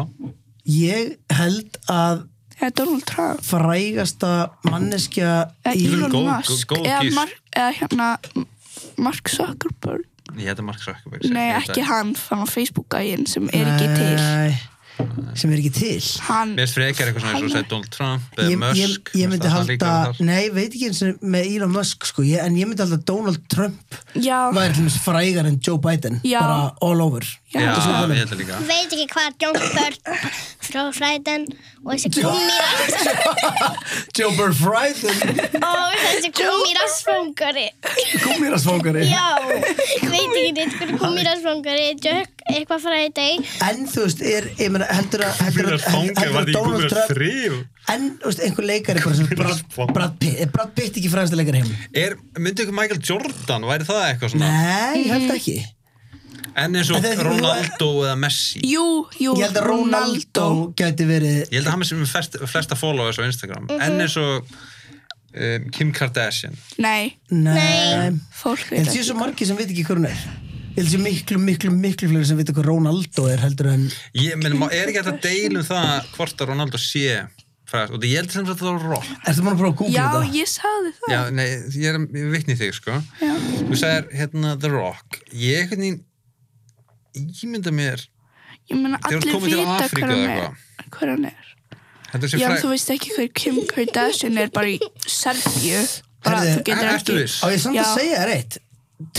Ég held að Eða Donald Trump. frægasta manneskja Eða í Eh, Elon Góð- Musk. góð- góð Eða, gís. Mar eða hérna M- Mark Zuckerberg. ég heiti Mark Zuckerberg. Nei, ég veit ekki það. Eh, hann, þannig að Facebook-gægin sem er ekki til. Nei, sem er ekki til Hann, Mér frekar eitthvað svona eins og Hann- segja Donald Trump ég, eða ég, Musk. ég mér myndi finnst það halda líka þar. nei, ég veit ekki eins og með Elon Musk sko, ég, en ég myndi halda að Donald Trump já, væri til dæmis frægar en Joe Biden Já. bara all over já, Já, já. ég held það líka. Veit ekki hvað John Burt frá Fræden og þessi gúmíras Joe Biden og þessi gúmírasfangari gúmirasfókari Já, veit ekki neitt hvernig gúmírasfangari Jack, eitthvað Friday en þú veist, er, ég meina, heldur að heldur að- Fangir heldur var að því Donald Google Trump þrjú. en þú veist, einhver leikari bara sem Brad, Fangir. Brad Pitt er Brad Pitt ekki frægast að leikari heim Er, myndi ykkur Michael Jordan, væri það eitthvað svona? nei, ég held ekki En eins og En þeir- Ronaldo eða Messi. Jú, jú, ég held að Ronaldo gæti verið Ég held að hann er sem er flest, flesta followers á Instagram. Mhm. En eins og um, Kim Kardashian. Nei, nei, fólk Ég veit held sé svo margir sem veit ekki hver hún er Ég held sé miklu, miklu, miklu fleiri sem veit hver Ronaldo er heldur en Ég meni, er ekki hægt að deila um það hvort að Ronaldo sé fræðast. Og ég held sem sagt að það var rock. Ertu maður að prófa að googla Já, þetta? ég sagði það. Já, nei, ég er ég vitni í þig, sko. Já. Þú sagðir, hérna, The Rock. Ég einhvern veginn, ég mynda mér, Ég meina, þú ert allir komin til vita Afríku hver hann eða er. Hver hann er. þetta sé Já, en fræ... þú veist ekki hver Kim Kardashian er bara í Serbíu. Bara, Herðu, þú getur er- ertu ekki... viss? Á ég samt að Já. segja það reitt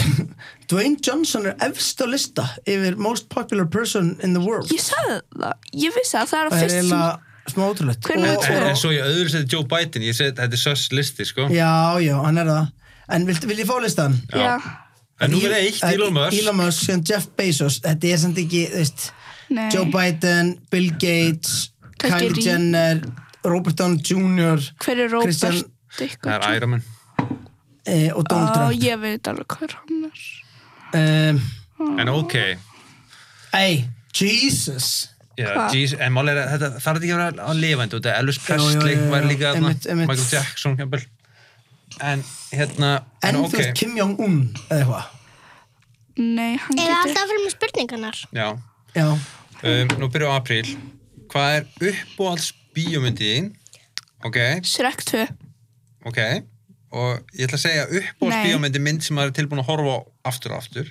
Dwayne Johnson er efst á lista yfir most popular person in the world Ég sagði það. Ég vissi að það er að Það er fyrst sem... eiginlega smá ótrúlegt Hver er Og- En, en svo ég öðru seti Joe Biden, ég seti, þetta er sös listi, sko. Sko- Já, já, hann er það En vil, vil ég fá listan? Já, En nú er eitt, En Elon Musk. Elon Musk, síðan Jeff Bezos Þetta er samt ekki, þú veist nei. Joe Biden, Bill Gates Kannski Kylie Rí- Jenner Robert Downey Jr. Hver er Robert? Christian- Það er Iron Man. Eh, og Donald Á, Trump ég veit alveg hver hann er. Um, En ok, Ey, Jesus já, Hva? geez, en mál er að þetta þarf þetta ekki að vera á lifandi út af Elvis jú, Presley jú, var jú. líka þarna, Einmitt, einmitt. Michael Jackson, kempel. En hérna, En en þú veist ok, Kim Jong-un eða eitthvað Nei, hann Eða getur... alltaf fyrir með spurningarnar já. Já, Um, nú byrjuðu apríl. Hvað er uppáhalds bíómyndin? Ok, Shrek 2. Ok, og ég ætla að segja uppbóðs Nei. bíómyndi mynd sem maður er tilbúin að horfa á aftur og aftur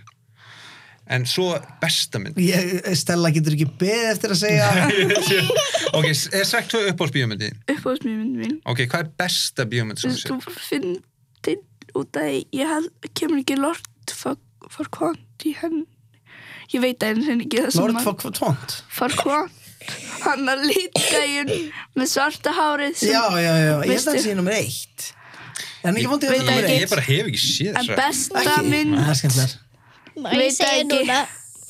en svo besta mynd ég, Stella getur ekki beðið eftir að segja ok, er sagt þú uppbóðs bíómyndi Uppáðsmjömynd mín. ok, hvað er besta bíómyndi Þú sem þú þú sér? bara fyndin út að ég held, kemur ekki Lord Farquant í henn ég veit að henni ekki það Lord sem fuck for tont Farquant hann að lítgæjun með svarta hárið sem, Já, já, já, ég held Veistu- að það sé nummer eitt Er hann ekki vondið að ég, það nummer ég, eitt? ég bara hef ekki séð en þessa. besta Ekki, mynd það er skemmtilegar Má Veit ég segja ekki. núna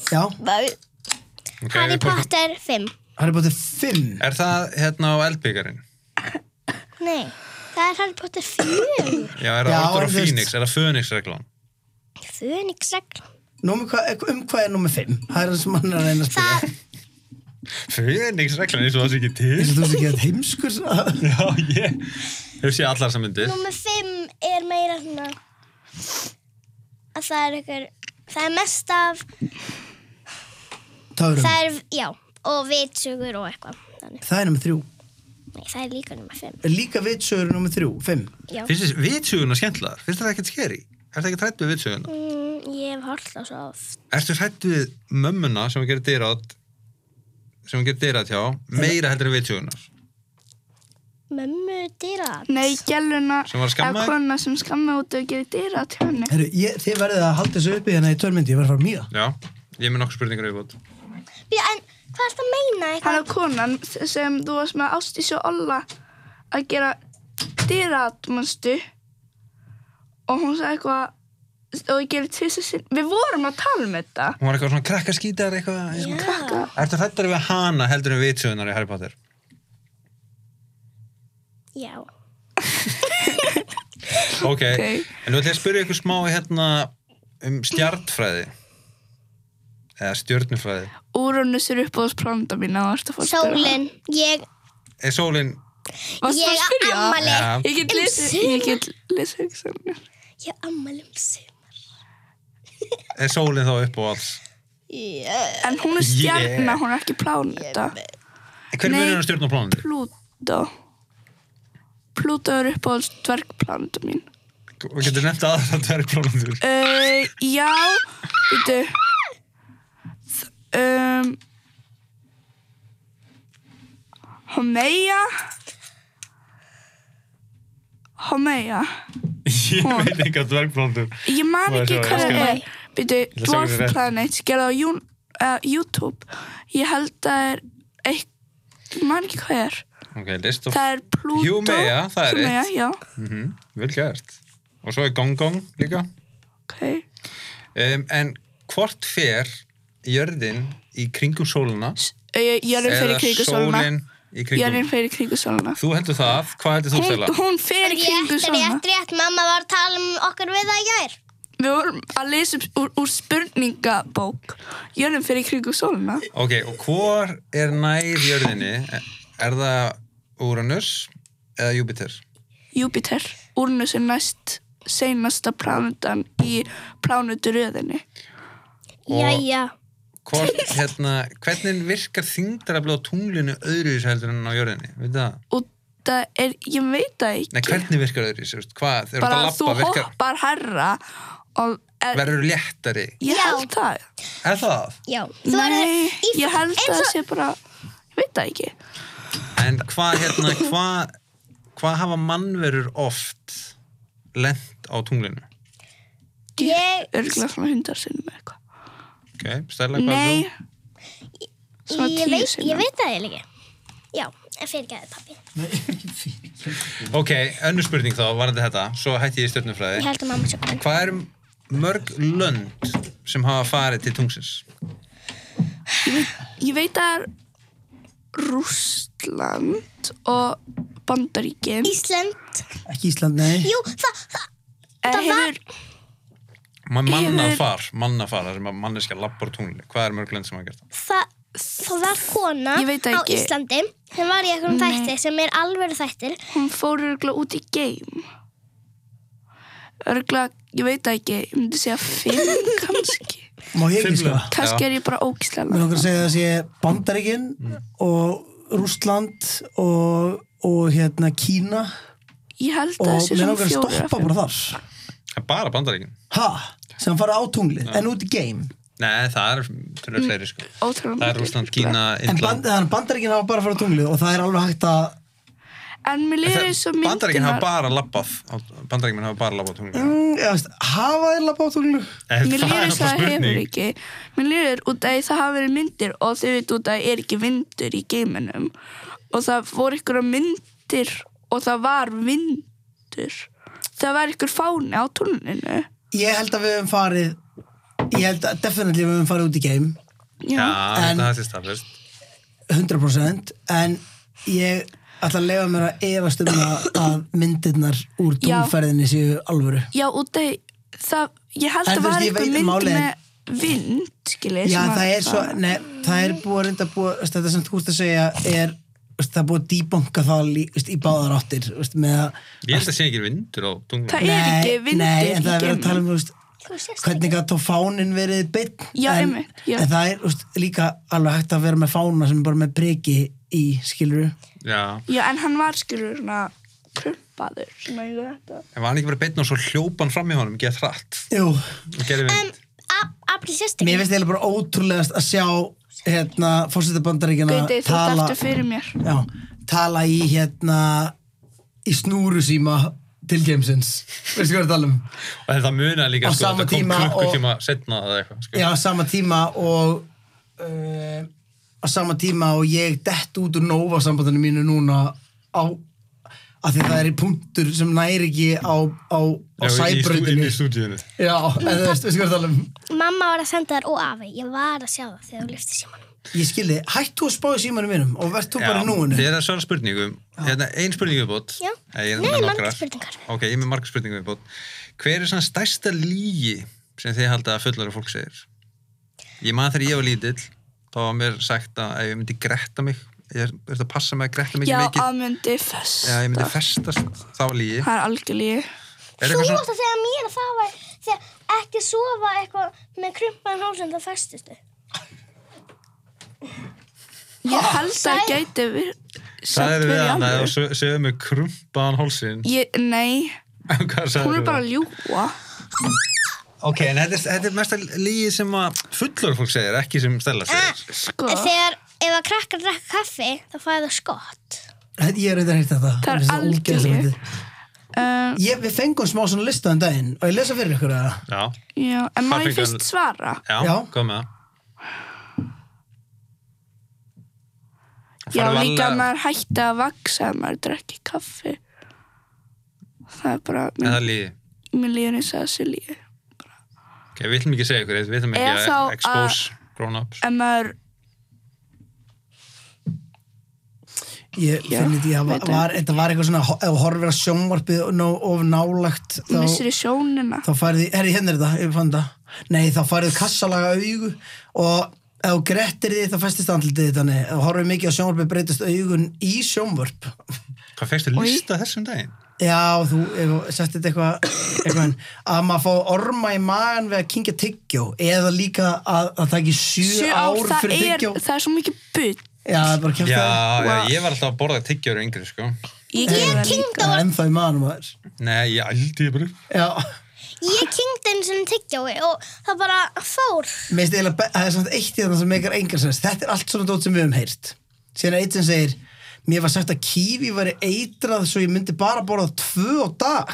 Já, Ok, Harry uppáhalds- Potter 5 Harry Potter 5 er það hérna á eldbyggarinn? Nei, það er Harry Potter 4 já, er það Já, Order en of þú veist- Phoenix, er það Phoenix reglan? Fönix reglan Númer hvað- Um hvað er nummer 5? Það er það sem hann er að reyna að Það, spila Phoenix reglan, eins og það sé ekki til Eins og þú sé ekki að heimskur Það já, ég hef séð allar sem myndir nummer 5 er meira svona að það er ykkur það er mest af, er um það er, já og vitsugur og eitthvað Þannig, Það er nummer 3 nei, það er líka nummer 5 Líka vitsögur er nummer 3, 5 Já, finnst þess vitsuguna skemmtlaðar? finnst það ekkert skeri? er það ekki trætt við vitsuguna? mm, ég hef hort á svo oft Ertu hrætt við mömmuna sem að gera dyrátt sem að gera dyrátt hjá meira heldur en vitsjóðunar Mömmu dýrat nei, gæluna Sem var að skamma eða þig? kona sem skamma út að gera dýra til henni Herru, ég, þið verðið að halda þessu uppi hérna í törmyndi, ég verð að fara mýga Já, ég er með nokkuð spurningar yfirbútt Já, en hvað er það að meina hann eitthvað? að konan sem þú varst með Ástísi og Olla að gera dýrat, manstu og hún sagði eitthvað og ég gerði tvisvar sinn við vorum að tala um þetta Hún var eitthvað svona krakkaskítar eitthvað yeah. Já. Ertu hrættar við hana heldur en vitsöðunar í Harry Potter? Já. Ok, Ok. en nú ætlum ég að spyrja ykkur smá hérna um stjartfræði eða stjörnufræði Úrannus er upp á þess planta mín að varst að fara Sólin. Ég, Er sólin Varst að ég spyrja? ammali. Ja. Ég get Um lesið sumar. Ég get lesið hugsanir Ég ammali um sig. er sólin þá upp á alls? Yeah. En hún er stjarna, Yeah. hún er ekki pláneta Hver Nei. munur er stjörn og plánandi? Plútó Plútó er upp á þess dvergplanta mín Við getum nefnt aðra dvergplánandur uh, Já Vítu um, Homeia Homeia Ég veit enga dvergplánandur Ég man Má ég ekki sjá, hvað það ég skal- er Býtu, ætla að sjá Dwarf hvernig rétt. Planet gerði á Jún- uh, YouTube Ég held að er eitt, ég man ekki hvað það er Ok, list of Það er Pluto Humea, það er Humea, eitt. já, Mhm, Vel gert Og svo er Gong Gong líka ok um, En hvort fer jörðin í kringum sólina S- eh, Jörðin fer í kringu sóluna sólin í Jörðin kringum fer í kringu sóluna Þú heldur það, hvað heldur þú Hún, Stella? hún fer í Rétt, kringu sóluna rétt, rétt. Mamma var að tala um okkur við það í gær. Við vorum að lesa upp úr, úr spurningabók Jörðin fer í kringu sóluna Ok, og hvor er nær jörðinni? Er það Uranus eða Júpiter? Júpiter, Úrnus er næst seinasta plánutan í plánuturöðinni Og- Jæja. Hvort, hérna, hvernig virkar þyngdarafli á tunglinu öðruvísi heldur en á jörðinni? Veitu það? og það er, ég veit það ekki Nei, hvernig virkar öðruvísi? veist, Hvað? Þeir eru bara að að þú lappa, virkar, hoppar herra og er, verður léttari? ég Já. held það Er það? Já. Þú nei, verður í- ég held eins það og- sé bara ég veit það ekki En hvað, hérna, hvað hva hafa mannverur oft lent á tunglinu? Ég- örgulega svona hundar sinnum eða eitthvað Ok, Stella, hvað er nei, þú? svona Ég tíu veit- Ég sinnum veit það eiginlega ekki. Já, fyrir gæði pappi. Ok, önnur spurning þá, varandi þetta, svo hætti ég í stjörnufræði. Ég held að mamma sé komin. Hvað eru mörg lönd sem hafa farið til tungsins? ég veit það er Rússland og Bandaríkin Ísland. Ekki Ísland, nei Jú, það, það, er, það var- hefur, Man mannað Yfir- far, mannað far, þar sem að manneskja lappar á tunglinu. Hvað eru mörg lönd sem hafa gert það? það, það var kona Ég veit það á ekki. Íslandi sem var í einhverjum Nei. þætti sem er alveg þættir. hún fór örgulega út í geim örgulega, ég veit það ekki ég myndi segja fimm kannski Má ég ekki sko lönd. kannski Já. er ég bara ógislega Mér langar að segja að það sé Bandaríkin og Rústland og, og hérna Kína Ég held að það og sé mér svona langar að fjórir af stoppa fimm. bara þar Það er bara bandaríkin. ha, sem fara á tunglið en út í game Nei, það er tölur fleiri sko. Mm, Ótrúlega Það er margir, Rúsland, sko. Kína, en Indland. band, Bandaríkin hafa bara að fara á tunglið og það er alveg hægt að En mér líður eins og myndirnar Bandaríkin hafa bara lappað, á- bandaríkin hafa bara lappað á tunglinu. mm, eða, veist, hafa þeir lappa á tunglinu En Mér það líður er eins og náttúrulega það hefur spurning. ekki Mér líður út að það hafa verið myndir og þau veit út að er ekki vindur í geiminum og það voru ykkur myndir og það var vindur Það var ykkur fáni á túninu ég held að við höfum farið ég held að definitely við höfum farið út í game Já, Já, En- þetta það sé staðfest. 100% en ég ætla að lefa mér að efast um það að myndirnar úr Já. tunglferðinni séu alvöru Já út að það Ég held En að þú var veist, ég ykkur veit mynd málið- með vind skilur, Já, sem að- það er svo, nei, það er búið að reynda að búið, veist, þetta sem þú ert að segja er, veist, það er búið að debunka það lí, veist, í báðar áttir, veist, með að Ég held að sé ekki vindur á tunglinu. Það er ekki vindur nei, í en það er verið að geimnum. tala um, þú veist, Þú sést hvernig að þá fánin verið beitt, Já, en, einmitt, já. en það er, veist, líka alveg hægt að vera með fána sem er bara með priki í, skiluru Já, Já, en hann var skilur svona krumpaður svona ég veit þetta en var hann ekki bara beinn og svo hljópan fram í honum, gett hratt Jú, og gerði vind. April sést ekki. mér finnst eiginlega bara ótrúlegast að sjá, hérna, fórsetabandaríkjana Gauti, þú ert aftur fyrir mér já, tala í, hérna, í snúru síma til gamesins, veistu hvað ég er að tala um? Og þetta muna líka, Á sko, sama þetta kom tíma og- klukkutíma setna eða eitthvað, sko. Já, sama tíma og uh, á sama tíma og ég dett út úr Nova sambandinu mínu núna á, af því það er í punktur sem næri ekki á, á, á Inn sæbröndinni í stúdíunni. Já, eða þú veist, veistu hvað ég er að tala um Mamma var að senda þær og afi. Ég var að sjá það þegar þú lyfti símanum. Ég skilði, hætt þú að spá í símanum mínum og verð þú bara í núinu Þið er að svara spurningum. Hérna, ein spurningu uppbót. Já. Nei, ég er Nei, með margar nokkrar. spurningar. Ok, ég er með margar spurningu uppbót. Hver er svona stærsta lígi sem þið halda að fullari fólk segir? Ég man þegar ég var lítill, þá var mér sagt að ef ég myndi gretta mig, ég er þetta að passa mig að gretta mig Já, ekki að mikið. myndi fest. Já, ég myndi festast, þá var lígi. Það er algjörlega. Er Þú átt eitthvað svona, að segja mér að það var þegar ekki sofa eitthvað með krumpaðan hálsum það festist þau. Ég held að gæti við. það er við hann, alveg. það séu með krumpaðan hálsinn. Ég, nei, Hvað sagði hún er bara að ljúa. Ok, en þetta er, þetta er mesta lígi sem að fullur fólk segir, ekki sem Stella Ah. segir. Sko, En þegar ef að krakkar drekka kaffi þá fæði það skott. Þetta- Ég er auðvitað hægt þetta Það er Mér finnst algjörlega. ógeðslega fyndið. um, Ég, við fengum smá svona lista um daginn og ég lesa fyrir ykkur að Já, já, en má ég Farfingar- fyrst svara? já, Já. kom með það. Já, Farðu líka varlega. að maður hætti að vaksa að maður drekki kaffi. Það er bara, En það mér, er lígi. mér líður eins og þessi líði. Ok, við ætlum ekki að segja ykkur, eitt, við ætlum Eða ekki þá að expose grown-ups. En maður, ég Já, finn þetta, ég var, veit það. var, þetta var eitthvað svona ho- ef þú horfir að sjónvarpið nóg- of nálagt þá, missir í sjónina. þá færði, herri hérna er þetta, ég fann þetta nei, þá færði kassalaga augu og ef þú grettir því þá festist andlitið þitt þannig, ef þú horfir mikið á sjónvarpið breytist augun í sjónvarp Hvað fegstu lista þessum daginn? Já, þú setti þetta eitthvað eitthvað en að maður fá orma í magan við að kingja tyggjó eða líka að það taki sjö, Sjö ár, ár það fyrir er, tyggjó Já, það er svo mikið butt. það er bara kæft Já, það já, ég var alltaf að borða tyggjöru yngri, sko. Ég gerði það líka. Það er ennþá í maganum að þér Nei, ég aldi ég bara upp. Já, Ég kynnti einu sinni tyggjói og það bara fór. mér finnst eiginlega, be- það er samt eitt í þarna sem meikar engar sens Þetta er allt svona dót sem við höfum heyrt Síðan er eitt sem segir Mér var sagt að kífi væri eitrað svo ég myndi bara borða tvö á dag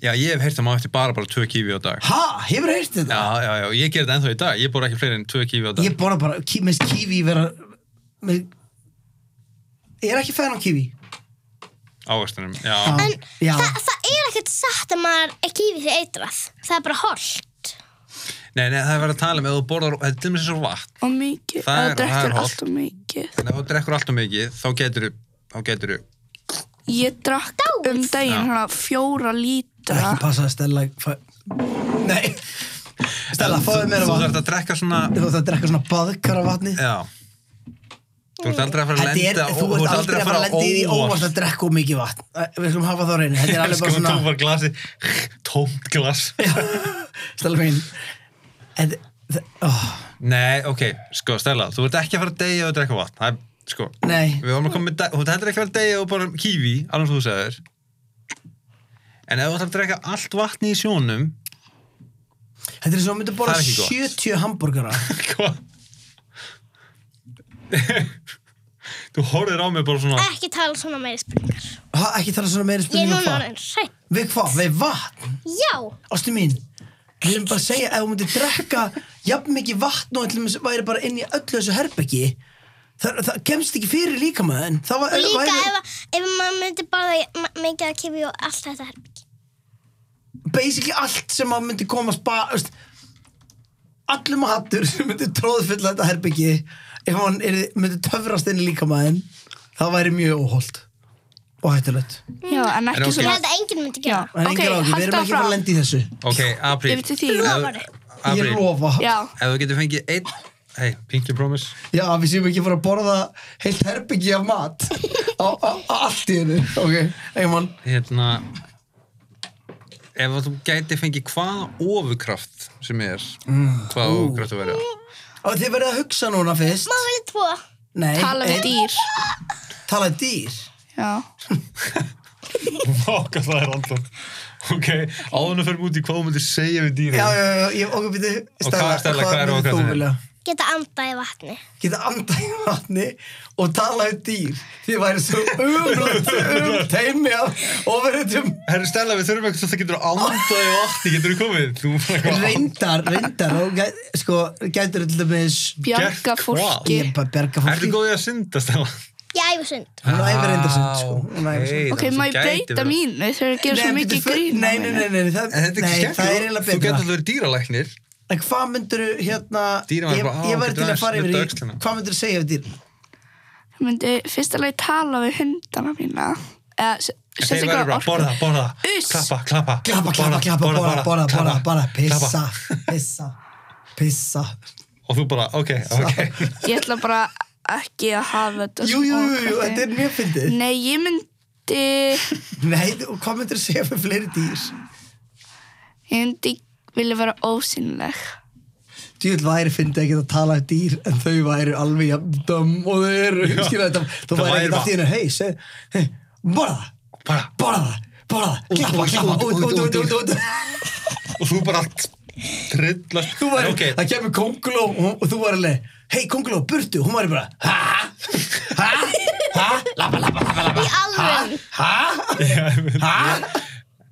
Já, ég hef heyrt að maður eftir bara bara tvö kífi á dag. Ha, hefur heyrt þetta? Já, já, já, ég ger þetta ennþá í dag. Ég borða ekki fleiri en tvö kífi á dag. Ég borða bara, kí, minnst kífi vera mér, Ég er ekki fæðan á kífi Ágastunum, já. Já, já. Þa, það er ekkert satt að maður ekki yfir því eitrað. Það er bara holdt. Nei, nei, það er verið að tala um, ef þú borðar, þetta er til mér sem svo vatn. Og mikið, Það það er- það er drekkur hollt. alltaf mikið. En ef þú drekkur alltaf mikið, þá getur þá getur Ég drakk um Já. daginn hérna fjóra Það er lítra. ekki passað að Stella fæ... Nei Stella, fáðu meira Þú vatn þarf að drekka svona, Þú þarf að drekka svona baðkar af vatni já. Þú ert aldrei að fara að Þetta er, lenda, þú ert aldrei að fara að lendi í því óvart óvart. að drekka úr mikið vatn Æ, Við skulum hafa það á reyni Þetta er alveg bara Sko, tók svona bara glasi, tómt glas. Stella mín Þetta það- ó, Nei, ok, sko, Stella, þú ert ekki að fara að deyja og drekka vatn. Það er, sko, Nei, við varum að koma með, de- þú ert heldur ekki að fara að deyja og bara kífi, annars þú segir. En ef þú ætlar að drekka allt vatni í sjónum, þetta er svo að myndu borða Það er ekki gott. 70 hambúrgara hvað? Þú horfir á mig bara svona, Ekki tala svona meiri spurningar. Ekki tala svona meira Ég er spurninga núna hvað orðin hrætt. Við hvað, við vatn Já, Ástu mín, við erum bara að segja ef þú myndir drekka jafn mikið vatn og ætlum að væri bara inn í öllu þessu herbeggi það, það kemst ekki fyrir líkamæðin það var, og líka væri ef, ef maður myndi bara ma- mikið að kifi og allt þetta herbyggi. basically allt sem að myndi komast bara, veist allum að hattur sem myndi tróðfylla þetta herbeggi ef hann er, myndi töfrast inn í líkamæðin það væri mjög óholt og hættulegt Já, en En ekki Ég ok. svona. held að enginn myndi Já, gera. en ok, það. engar ákveð, við haltu erum ekki fara að áfram. lenda í þessu ok, apríl. Yfir til þín. ég Ef- Apríl. lofa Já, Ef þú getur fengið einn Hei, Pinky Promise Já, við séum ekki að fara að borða heilt herbyggi af mat á, á, á allt í hennu ok, einmann Hérna Ef þú gæti fengið hvaða ofurkraft sem er Hvaða ofurkraft þú verið Og þið verðið að hugsa núna fyrst Má velja tvo. Nei, tala við ein- dýr. Tala við dýr Já. Okkar það er alltaf Ok, áðan að fyrir út í hvað þú myndir segja við dýra Já, já, já, ég okkur byrju Og hvað, Stella, hvað er okkar þinn? Geta andað í vatni. Geta andað í vatni og tala við dýr Þið væri svo umlögt um teimi af ofurhetjum Herru Stella, við þurfum eitthvað það getur ánda í vatni, getur þú komið? Þú Reyndar, reyndar og gæ, sko, gætur til dæmis Bjarga hvað? fólki. ég bara berga Ertu fólki góðið að synda, Stella? ég æfa sund Hún æfir reyndar sund, sko. Hún æfir sund. Ok, Ok, má ég breyta mínu þegar ég ger svo Nei, mikið bíddu, grín Nei, nei, nei, nei, það, En þetta er nei, ekki það er skemmtilegt, eiginlega þú getur betra alltaf verið dýralæknir En hvað myndur hérna Dýrin var Ég, bara, á, ég væri getur til að aðeins fara nudda yfir í öxlina. Hvað myndur segja við dýr? Ég myndi fyrst að leið tala við hundana mína eða s- En Þeir sérstaklega væri bara, orku. borða, borða, Uss. klappa, klappa Klappa, klappa, klappa, bara, bara, bara, klappa, bara Pissa, klappa. pissa, pissa Og þú bara, ok, ok Ég ætla bara ekki að hafa þetta Jú, jú, sem jú, jú, orku. þetta er mjög fyndið Nei, ég myndi ég Nei, þú- hvað myndur segja við fleiri dýr? myndi vilja vera ósynleg Djúvill væri fyndið ekki að tala um dýr en þau væri alveg jafn dömm og þau eru Skilja þetta, þú Það væri væri ekki bara- allt í hennu Hei, seg, hei, borða það, Bara, borða það, borða það Klappa, út, klappa, út, út, út, út, út, út og þú bara allt trillast Þú væri, En ok, það kemur konguló og, hún- og þú væri alveg, hei konguló, burtu, hún væri bara, ha, ha, ha, lappa, lappa, lappa, lappa, Í alveg ha, ha,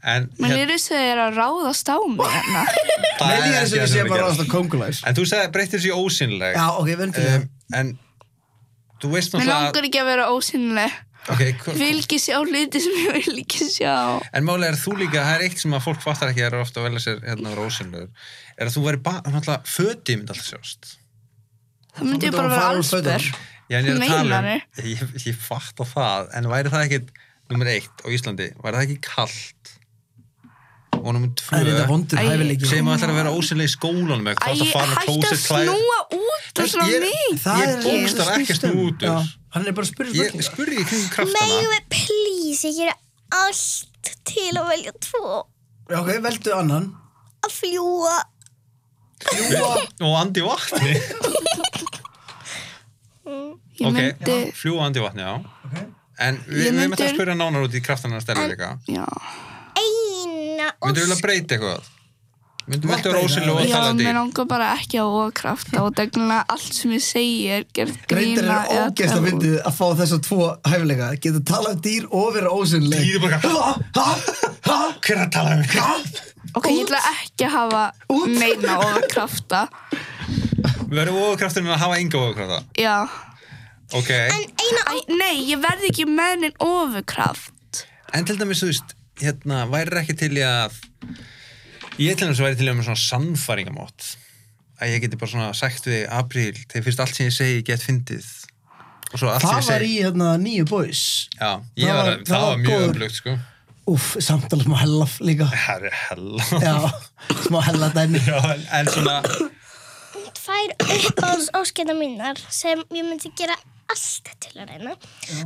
en Menn hérna, ég rissi þeir að ráðast á mig hérna það Nei, líður ekki þess að við það sem séum við bara gerum. ráðast á kongulæs. En þú sagði, breytir þessi ósynleg Já, ok, verðum til um, það. En þú veist Mér náttúrulega langar ekki að vera ósynleg okay, hva- Ég vil ekki sjá hluti sem ég vil ekki sjá En málega er þú líka, það er eitt sem að fólk fattar ekki er ofta að velja sér hérna að vera ósynlegur er að þú væri bara, náttúrulega, föti myndi alltaf sjást Það myndi myndi ég bara bara vera fara úr allsber fötunum. Já, en ég er að tala um, Meinar ég, ég fatt á það en væri það ekkit, nummer eitt á Íslandi, væri það ekki kallt og nummer tvö Það er þetta vondur Æ, hæfileiki. sem ætlar að vera ósynlega í skólanum eitthvað, Æ, þú ætlar að fara með hætti að klósett klæð snúa út og svona Ég- mig Ég bókstaf snýst ekkert um. út úr. Já, Hann er bara að spyrja Ég spurningar. spurði ekki um Megum kraftana við please, ég gera allt til að velja tvo Já, ok, veldu annan. að fljúa og andi í vatni Ég Ok, myndi fljúa andi í vatni, já En við Ég við myndi- myndum að spyrja nánar út í kraftana stærlega líka Já, eina Myndur við vilja ósk breyta eitthvað? Myndur við Vantar vilja rósilega og já tala um mér til? langar bara ekki að ókrafta og deglulega allt sem ég segi er gert Reyndar grína er ógeðst að tala út. fyndið að fá þessa tvo hæfileika. Geta talað um dýr og vera ósynleg. Dýr er bara- Ha, ha, ha, Hver er að tala um ha. Ok, ég ætla ekki að hafa Út. meina ókrafta Við verðum óðurkrafturinn að hafa enga óðurkrafta Já Ok, En en, eina Æ, Nei, ég verð ekki með neinn ofurkraft til dæmis, þú veist hérna, væri ekki til í að ég til dæmis væri til í að með svona sannfæringamót að ég geti bara svona sagt við apríl, þegar fyrst allt sem ég segi get fyndið og svo allt sem Það ég var segi í hérna nýju boys. Já, ég það var, var- það, það var var mjög góður. öflugt sko Úff, samtala sem að hella líka. Herri, hella Já, smá hella dæmi. Já, en, en svona tvær uppáhalds óskita mínar sem ég myndi gera allt til að reyna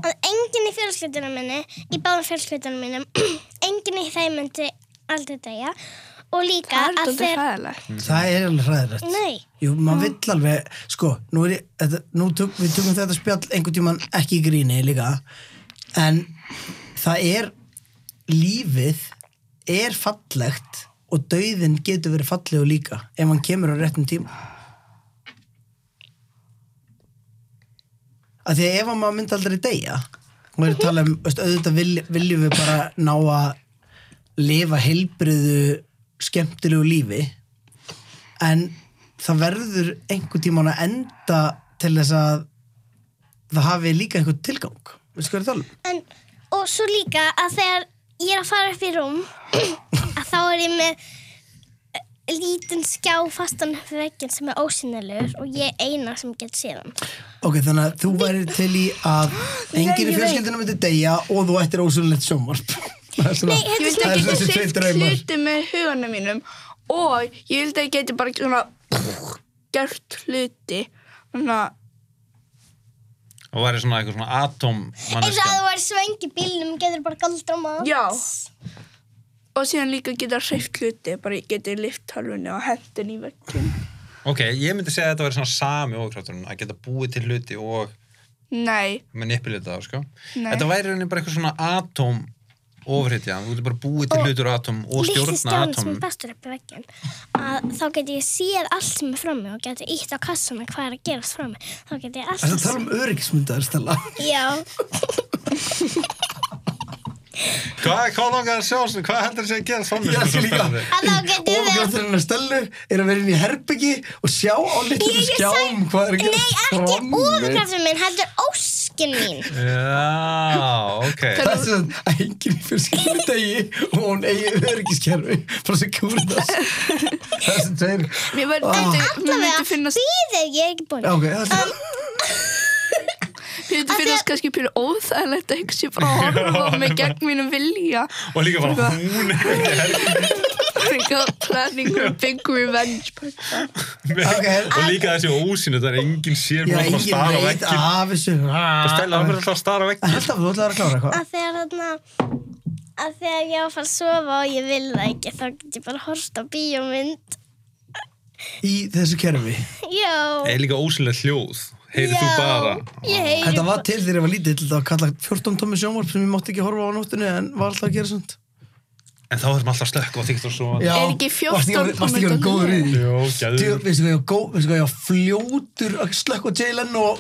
að enginn í fjölskyldunum minni í báðum fjölskyldunum mínum enginn í þeim myndi aldrei degja og líka Það er að þetta fæðilegt Það er alveg hræðilegt. Nei. Jú, maður vill alveg, sko, nú er ég, þetta, nú tök, við tökum þetta spjall einhvern tíman ekki í gríni líka, en það er, lífið er fallegt og dauðin getur verið fallegu líka ef hann kemur á réttum tíma. Af því að ef að maður myndi aldrei deyja, hún er að tala um, veist, auðvitað vilj- viljum við bara ná að lifa heilbriðu, skemmtilegu lífi, en það verður einhvern tímann að enda til þess að það hafi líka einhvern tilgang veistu hvað ég er að tala um? en, og svo líka að þegar ég er að fara upp í rúm að þá er ég með eh, lítinn skjá fastan upp við vegginn sem er ósynilegur og ég er eina sem get síðan Ok, þannig að þú væri til í að enginn í ég veit. fjölskyldunum myndi deyja og þú ættir ósynlegt sjónvarp Það er svona- Nei, Ég það vildi er að þessi geta tveir seift draumar. hluti með huganum mínum og ég vildi að geta bara svona gert hluti svona, og væri svona eitthvað svona atóm eins og að manneska þú er svengi bílnum getur bara galdra mat já og síðan líka geta seift hluti bara ég geti lift halvunni og hendin í vekkinn Ok, ég myndi segja að þetta væri svona sami óðurkrafturinn að geta búið til hluti og nei, manipulita það, sko. Nei. Þetta væri rauninni bara eitthvað svona atóm ofritja, þú getur bara búið til Og hlutur atóm og litli stjórna stjáni sem atóm. er bestur upp í veggin að þá get ég séð allt sem er frammi og get ítt á kassana hvað er að gerast frammi þá get ég Það er allt að tala um öryggismyndar Stella já, Hvað, hvað langar að sjá, svona- hvað heldur þessi að gera svona? Ég ætli líka að þá get ég verið Ofgjöfturinn af Stellu er að vera inn í herbyggi og sjá á litlum Ég- ég skjám sagði- hvað er að nei, gera ekki ofurkraftur minn heldur engin mín. Já, ok Það er sem að enginn í fjölskyldinu degi og hún eigi öryggiskerfi frá sem kúriðast. Það er sem tveir. Mér verður myndi, mér myndi Allavega, finnast, býðu, ég er ekki búin. Já, ok, það er mér myndi finnast kannski pyrr óþægilegt að hugsa ég bara að horfa á mig gegn mínum vilja. Og líka bara hún Þegar planningur big revenge. bara. Ok. Og líka þessi ósýnu Það er enginn sér Já, Mér er alltaf að enginn stara á veit vekkinn af þessu. Stella, hann er Alltaf, alltaf að stara á vekkinn þú ætlaði að klára eitthvað. Að þegar þarna, að þegar ég á að fara að sofa og ég vil það ekki, þá get ég bara horft á bíómynd. Í þessu kerfi. Já. Það er líka ósýnlega hljóð Heyrið þú já, bara Ég heyri Þetta var til þegar ég var lítill, það var kallað 14 tómi sjónvarp sem ég mátti ekki horfa á á nóttinu en var alltaf að gera svona. En þá erum alltaf slökk og þykkt og svo Er ekki 14 Varst ekki að vera tómur góður í því? Jó, Djú, gæður Veistu hvað ég var góð, veistu hvað ég var fljótur að slökka á Jalen og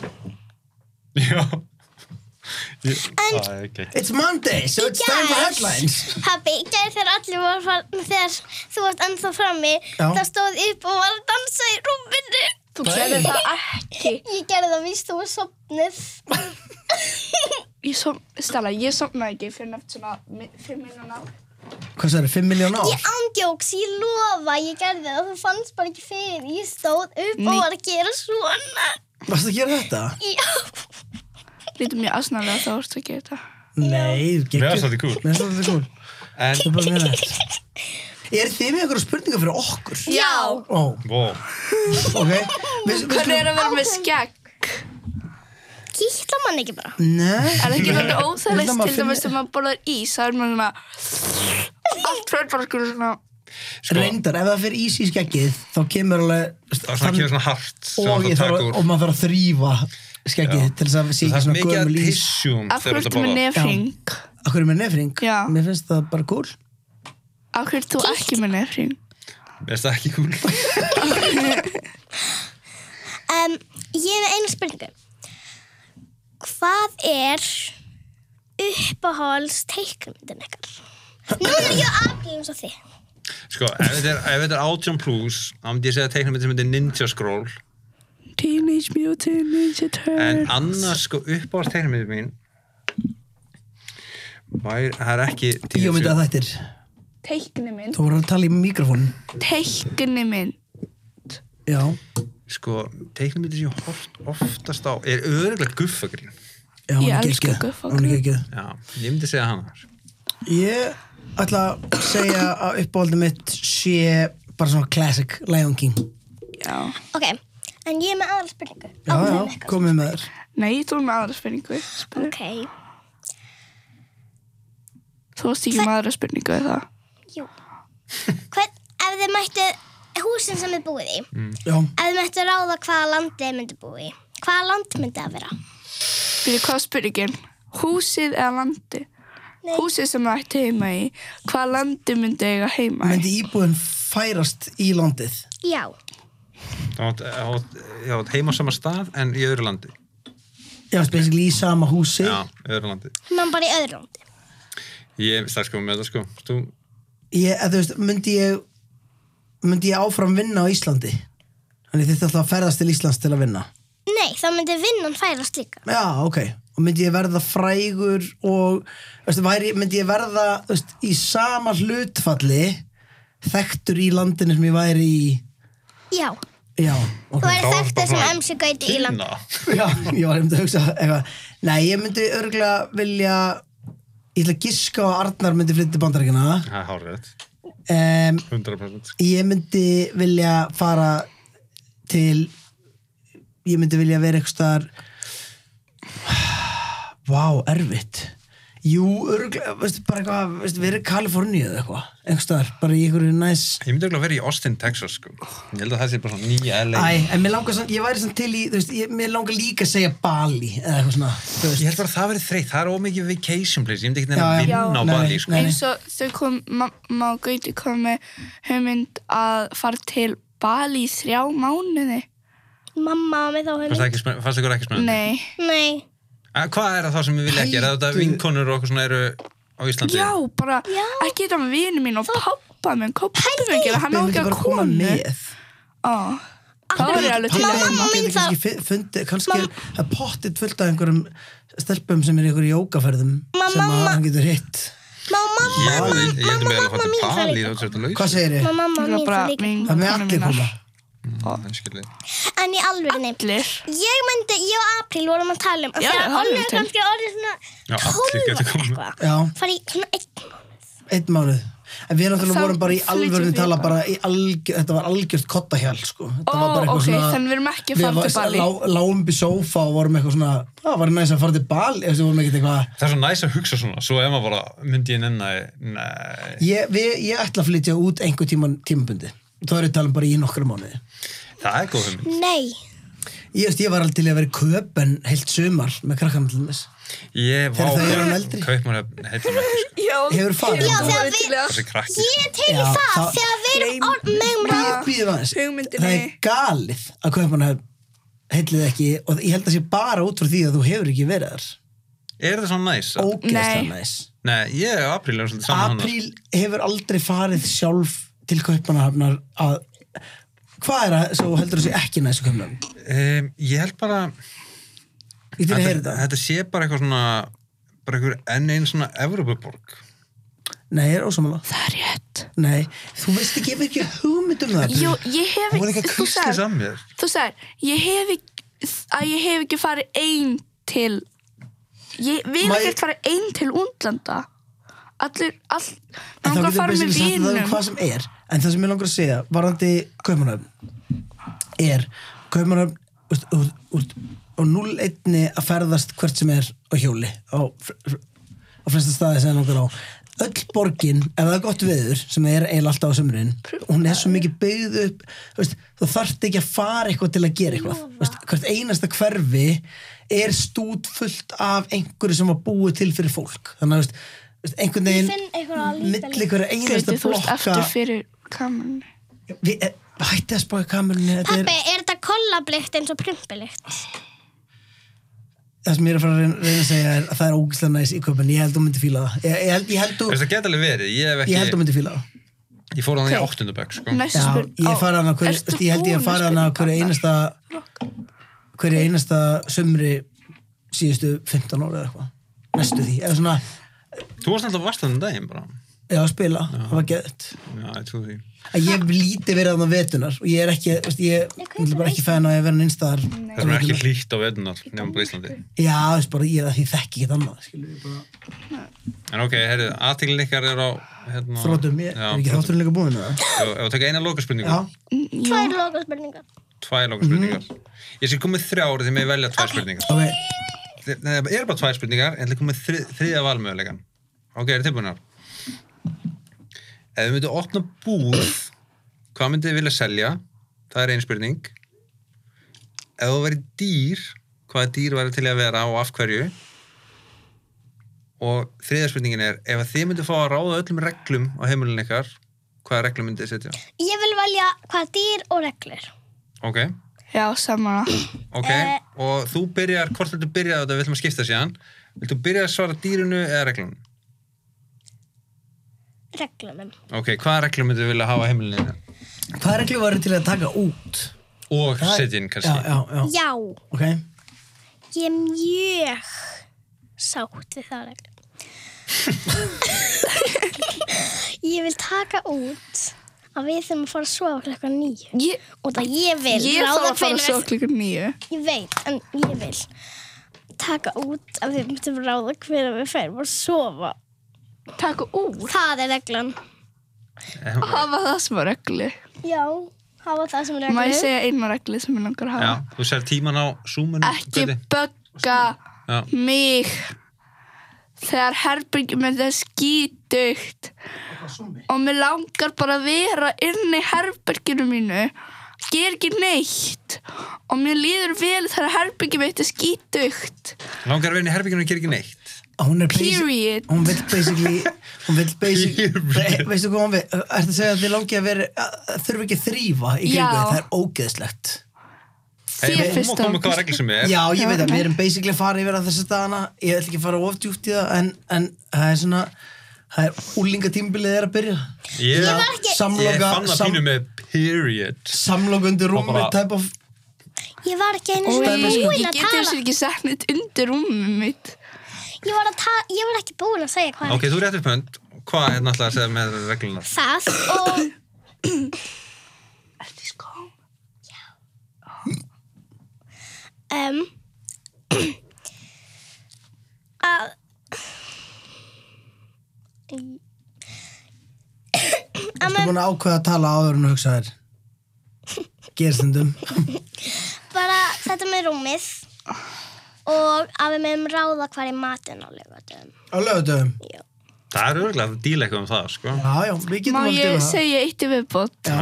Já Ég- Það er ekki It's Monday, so it's time for headlines. Pabbi, í gær þegar allir voru farin, þegar þú varst ennþá frammi, Já. þá stóð ég upp og var að dansa í rúminu. Þú gerði það ekki. Ég gerði það víst, þú var sopnið. Ég som, Stella, ég sofnaði ekki fyrir nefnt svona mi- fimm minnum á. Hvað sagði, 5 miljón ár? Ég ángjóks, ég lofa, ég gerði það, þú fannst bara ekki fyrir. Ég stóð upp Nei. og var að gera svona. Varst að gera þetta? Já, Lítum mjög aðsnaðlega að það vorst að gera þetta. Nei, geggjum. Mér finnst þetta kúl. Mér finnst þetta kúl. En Það er bara mér þetta. Er þið með einhverja spurningar fyrir okkur? Já. Ó, Vó, ok. Við, við Hvernig er að vera með skegg? kýtla mann ekki bara. Nei. Er það ekki verið Ég ætla óþægilegt maður til finni- dæmis þegar maður borðar ís, það er maður svona allt fyrir bara sko svona Sko- Reyndar, ef það fyrir ís í skeggið, þá kemur alveg... það er svona kemur svona hart sem og, það ég taka þarf, að- úr og maður þarf að þrýfa skeggið til þess að sé Það ekki er svona mikið að gömul ís. tissjum af hverju ertu með nefring? Af hverju er með nefring? Já. Mér finnst það bara kúl. Af hverju ert þú ekki með nefring? Veist það ekki kúl? Um, ég hef einu spurningu. Hvað er uppáhalds teikmyndin ykkar? Nú er ég á aflýðum svo þið. Sko, ef þetta er- ef þetta er 18 plus þá myndi ég segja teiknumynd sem heitir Ninja Scroll Teenage Mutant Ninja en Turtles annars sko uppáðast teiknumynd mín væri, það er ekki Bíómynda þættir. Teikni minn Þú voru að tala í mikrofónin. Teikni minn Já. sko, teiknumynd sem ég hort oftast á er öðruglega guffagrín Já, hún Ég er elska geggjuð. Guffa Hún er Green. geggjuð. já, ég myndi segja hann Ég ætla að segja að uppáhaldið mitt sé bara svona classic Lion King. Já Ok, en ég er með aðra spurningu. Já, já, Áfram ykkar. komið með þér. Nei, þú er með aðra spurningu Spyr. Ok, Þú varst ekki með aðra spurningu eða það jú. Hvern, ef þið mættu húsin sem þið búið í, Já. ef þið mættu ráða hvaða landi þið myndi búið í, hvaða land myndi það vera? Fyrir hvað var spurningin? Húsið eða landi? Nei. Húsið sem það ætti heima í Hvað landi myndi eiga heima í? Myndi íbúðin færast í landið? Já, ég átt heima á sama stað en í öðru landi Já, veist, basically í sama húsi. já, öðru landi mann bara í öðru landi. ég, það er sko með þetta sko Þú, Ég, eða, þú veist, myndi ég, myndi ég áfram vinna á Íslandi? Þannig þetta alltaf að ferðast til Íslands til að vinna. Nei, þá myndi vinnan færast líka. Já, ok. Og myndi ég verða frægur og veistu, væri, myndi ég verða veist, í sama hlutfalli þekktur í landinu sem ég væri í Já, Já, þú ok. væri Þá þekkt var þessum bara- emsi gauti í landi. Kína Já, ég var einmitt að hugsa eitthvað. Nei, ég myndi örgulega vilja ég ætla að giska á að Arnar myndi flytta til bandaríkina það er hárið, um, 100% ég myndi vilja fara til ég myndi vilja vera eitthvað staðar vá, erfitt jú, örgulega, veistu, bara eitthvað veistu, verið Kaliforníu eða eitthvað eitthvað staðar, bara í einhverju næs Ég myndi örugglega að vera í Austin, Texas sko. Ég held að það sé bara svona nýja LA Æ, en mér langar, samt- ég væri samt til í þú veist, ég, mér langar líka að segja Bali eða eitthvað svona, þú Ég veist held bara að það verið þreytt, það er ómikið vacation place Ég myndi ekki Já, já. nefna að vinna á Já, Bali nei, sko. nei. eins og þau kom, mamma og Gauti kom með hugmynd að fara til Bali í þrjá mánuði. Mamma á mig þá Fannst það hefur. ekki spenn- fannst ykkur ekki spennandi? Nei. Nei, Nei Hvað er það sem við vilja ekki? Er það þetta Hættu. vinkonur og okkur svona eru á Íslandi? Já, bara Já. ekki þetta með vinu mín og pappa minn, hvað pappa minn gera, hann á Ég ekki myndi að bara koma konu. með Ó, Þá er ég alveg til að mamma Mamma mín mín þá- það Kannski er það pottit fullt af einhverjum stelpum sem er í einhverjum jókaferðum sem að mamma- hann getur hitt Má mamma, Ég mamma, ég- ég heldur mig alveg mamma að fara mín til það Bali líka. þá þetta laus. Hvað segir Má þið? mamma mín bara það líka. Það með vinkonum allir koma mínar. Það skilji. En í alvörinni. Allir Ég myndi, ég og April vorum að tala um Já, að já, þegar það er Olli er til. kannski orðið svona Já, allir 12 getur komið. eitthvað. Já, Fari í svona einn einn mánuð En við náttúrulega Þá vorum bara í flytjum alvörinu við tala bara. bara í algjör, þetta var algjört kottahjál sko. Þetta Ó, var bara eitthvað ok, þannig við erum ekki að við fara var- til Bali. lá- Lágum upp í sófa og vorum eitthvað svona Það var næst að fara til Bali Þessi vorum ekkert eitthvað Það er svo næs að hugsa svona, svo ef maður bara myndi ég nenni að, nei, Ég, við, ég ætla að flytja út einhver tíman tímabundi Það er ég að tala um bara í nokkra mánuði það er góð hugmynd. Nei, Ég, veist, ég var alveg til í að vera í köpen heilt sumar með krakkanum til þess Ég Þegar þau eru var eldri. kaupmannöfn, heitum við ekki, sko. Hefur farið Já, þangað? þegar við- þessi krakki. ég er til í Já, það það- þegar við erum Gleym- orð með um Bíðu- bíðu aðeins. Hugmyndinni. Það er galið að Kaupmannahöfn heillið ekki og ég held að sé bara út frá því að þú hefur ekki verið þar Er það svona næs? að- Ógeðslega Nei. næs Nei, ég og Apríl erum svolítið saman hann. Apríl hefur aldrei farið sjálf til Kaupmannahöfnar að hvað er það sem þú heldur að sé ekki næs á Kaupmannahöfn? Um, ég held bara, Ég til að heyra þetta, þetta þetta sé bara eitthvað svona, bara einhver enn einn svona Evrópuborg. Nei, ég er ósamála Það er rétt Nei, þú veist ekki, ég hef ekki hugmynd um það Apríl. Jú, ég hef Hún er eitthvað Þú kristið sagðir, saman mér. þú sagðir, ég hef ekki að ég hef ekki farið einn til ég vil Má ég- ekkert farið einn til útlanda allir, all En þá langar að getur fara við með sagt það um vinum hvað sem er En það sem ég langar að segja varðandi Kaupmannöfn er Kaupmannöfn úst, úst, úst, og 0-1 að ferðast hvert sem er á hjóli á, fr- fr- á flesta staði sem ég langar á öll borgin, ef það er gott veður sem er eiginlega alltaf á sömurinn hún er svo mikið byggð upp þú veist, þú þarft ekki að fara eitthvað til að gera eitthvað Þú veist, hvert einasta hverfi er stút fullt af einhverju sem var búið til fyrir fólk þannig að þú veist, þú veist, einhvern Ég veginn finn eitthvað að líta milli hverja einasta Gauti, þú ert blokka aftur fyrir kamerunni við, eh, hætti að spája kamerunni þetta er Pappi, er þetta kollablikt eins og prumbilikt? það sem ég er að fara að reyna, reyna að segja er að það er ógislega næs í köpun ég held þú myndi fíla það ég, ég, held, ég, held, Þú veist, þú, það geta alveg verið, ég ég hef held þú ekki, myndi fíla það ég fór hann í Ok. áttundabökk, sko. Næsta Já, spurning ég, fara hana, hver, Ertu ég held ég að búin fara hana hverju einasta spurningarnar? hverju einasta sömri síðustu 15 ára eða eitthvað næstu því, eða svona Þú varst alltaf vast þannig daginn bara. já, spila, það var gett Já, ég trú því. að ég hef lítið verið að það vetunar og ég er ekki, veist, ég, ég, ég er bara ekki fæðin á að ég vera nynstaðar Það sem er ekki hlýtt á veðunar, nefnum bara Íslandi. já, veist, bara, ég, því ég þekki ekki annað skilur við bara En ok, herrið, aðtílinn ykkar er á, hérna... Þróttum, ég Já, er ekki þróttum. þátturinn líka búin eða? Ef ef við taka eina lokaspurningu. Já, Tvær loka spurningar. Tvær lokaspurningar. Ég sé komið þrjár því með velja tvær spurningar. Mhm. ok, Þe- Nei, það eru bara tvær spurningar en það er komið þri, þriðja valmöðulegan ok, er tilbúinar ef við myndum opna búð hvað myndið þið vilja selja það er ein spurning ef þú verið dýr hvaða dýr verið til að vera og af hverju og þriðja spurningin er ef að þið myndið fá að ráða öllum reglum á heimilin ykkar hvaða reglum myndið þið setja Ég vil velja hvað dýr og reglur. ok, Já, saman ok Eh. og þú byrjar, hvort viltu byrja á þetta við ætlum að skipta síðan viltu byrja að svara dýrinu eða reglunum Reglunum. Ok, hvaða reglum myndu vilja hafa á heimilinu? hvað er ekki verið til að taka út? Og Það er- setja inn kannski. Já, já, já, Já, ok ég er mjög sátt við það reglum. ég vil taka út að við þurfum að fara að sofa klokka nýju. Ég, Og það ég vil ég þarf að fara hvenær- svo klukkur nýju Ég veit, en ég vil taka út að við myndum ráða hverja við ferum að sofa. Takk úr Það er reglan. Já. Hafa það sem var reglu Já, hafa það sem reglu. Má ég segja eina reglu sem ég langar að hafa? Já, þú sér tíman á Zoom-inu. Ekki Gauti. bögga Já. mig þegar herbyggjum er það skítugt og mér langar bara að vera inn í herbyggjum mínu ger ekki neitt og mér líður vel þegar herbyggjum eitt er skítugt Langar að vera inn í herbygginu og gera ekki neitt. Hún er basi- Period. Hún vill basically Hún vill basically Period. Ve- Veistu hvað hún vill? Ertu að segja að þið langi að vera að- þurfi ekki að þrýfa í kringu Já. þið? Það er ógeðslegt þér Hey, fyrst Má koma hvaða regl sem er. Já, ég veit að Já. við erum basically að fara yfir að þessu dagana Ég ætla ekki að fara of djúpt í það en, en það er svona það er úlingatímbilið er að byrja Ég, Ég var ekki- ég Samloka- fann það sam- pínu með period samlokundi Og rúmi bara- type of Ég var ekki einu Oj, sinni búin ég að geti tala þessi ekki sett neitt undir rúmið mitt. Ég var, að ta ég var ekki búin að segja hvað Ok, þú réttir pönd Hvað er náttúrulega að segja með reglunar? Það og Ertu í skóm? um, að Þú búin að ákveða að tala áður en að hugsa þér Gerstundum bara þetta með rúmið og að við meðum ráða hvar er matinn á lögatum. Á lögutöfum Það er örgulega að díla eitthvað um það, sko Já, já, við getum Má alveg ég dýrað það. segja eitt í viðbót? Já.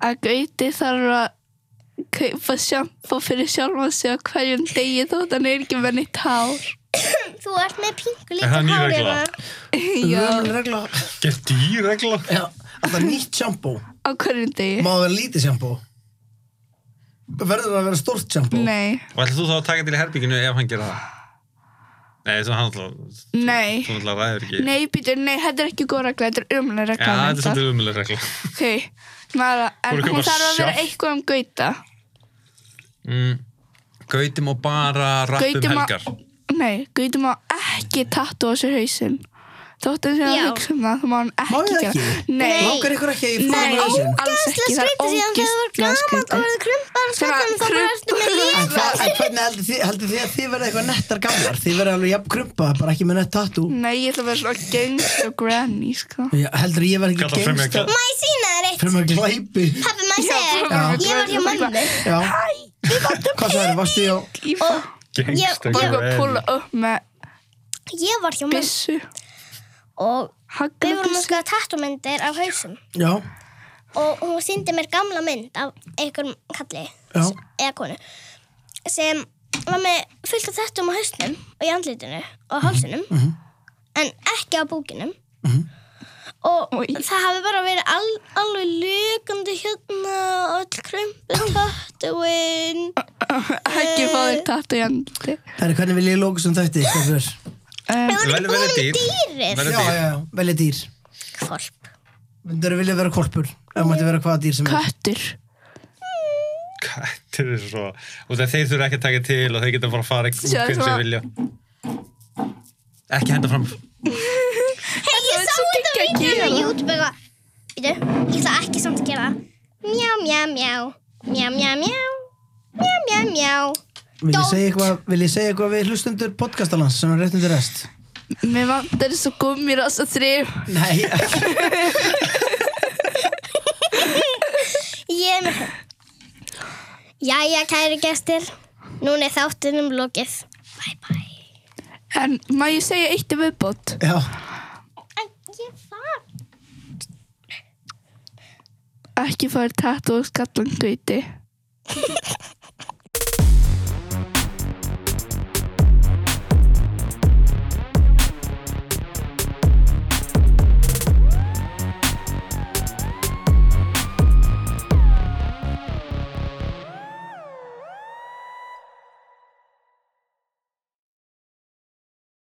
Að Gauti þarf að kaupa sjampo fyrir sjálfa sig á hverjum degi þótt hann er ekki með neitt hár. Þú ert með pingu Er lítið það ný hár regla? hérna. Já, Gömul regla Gert dýr regla? Já, alltaf nýtt sjampó á hverjum degi. Má það vera lítið sjampó Verður það að vera stórt sjampó Nei, Og ætlar þú þá að taka til í herbygginu ef hann gera það? Nei, þú hann alltaf nei. Þú alltaf ræður ekki Nei, býtur, nei, þetta er ekki góð regla, þetta er umlega Já, regla. þetta er reyndar. svolítið umuleg regla Ok, maður, en Þú eru að hún kaupa þarf að vera sjamp- eitthvað um Gauta. mm. Gauti má bara rapp um Gauti má- helgar Nei, Gauti má ekki tattu á sér hausinn. Þótt hann sé að Já. hugsa um það, þá má hann Má ekki það gera. ekki? Nei, Langar ykkur ekki að ég Nei. fór á hausinn? Alls ekki, Ógeðslega það er skrítið síðan þegar þú var ógeðslega gaman skrítið. og verður krumpar og Svona skallum um þá bara ertu með En, krumpa- líf. hvað, en hvernig heldur þið, heldur þið að þið verða eitthvað nettar gamlar? Þið verða alveg jafn krumpa, bara ekki með nett tattoo Nei, ég ætla að vera svona gangsta granny, sko. Já, Heldur ég verða Kallar ekki gengsta frumjökla. Má ég sína þér eitt? Fyrir maður glæpi Pappi, má ég segja Já, bara- þér? Ég var hjá mömmu. Já, hvað sagði, varstu ég á Ég var Gengsta bara að græn. púla upp með Ég var hjá mömmu bissu, og við vorum að haglabissu. skoða tattumyndir af hausum. Já, og hún síndi mér gamla mynd af einhverjum kalli Já. eða konu sem var með fullt af þettum á hausnum og í andlitinu og hálsinum en ekki á búkinum og Oj. það hafi bara verið al, alveg lukandi hérna og öll krumpu tattuinn Ekki fá þér tattu í andli. herri, hvernig vil ég lóka sem þætti? Stofur? Um, við vorum ekki Vel- vel búin með dýr. dýrið Vel- Já, Velja já, dýr. já, velja dýr Hvolp. Myndur vilja vera kolpur Ef mætti vera hvaða dýr sem er köttur. Þetta er svo og það þeir þurfa ekki að taka til og þeir geta bara að fara út Sjáðu hvernig svona- sem vilja ekki henda fram hei ég sá svo þetta geggjað vídeo á gera. YouTube eitthvað Bíddu, ég ætla ekki samt að gera það. mjá mjá mjá mjá mjá mjá mjá mjá mjá Vil ég Don't. segja eitthvað, vil ég segja eitthvað við hlustundur podcastalans sem er rétt undir rest? Mér vantar þessu gummir á þessu þrif. Nei, ekki Ég er með Jæja, kæri gestir. Núna er þáttunum lokið. Bye bye. En má ég segja eitt um viðbót? Já, En ég var... Ekki fá þér tattu á skallan gauti.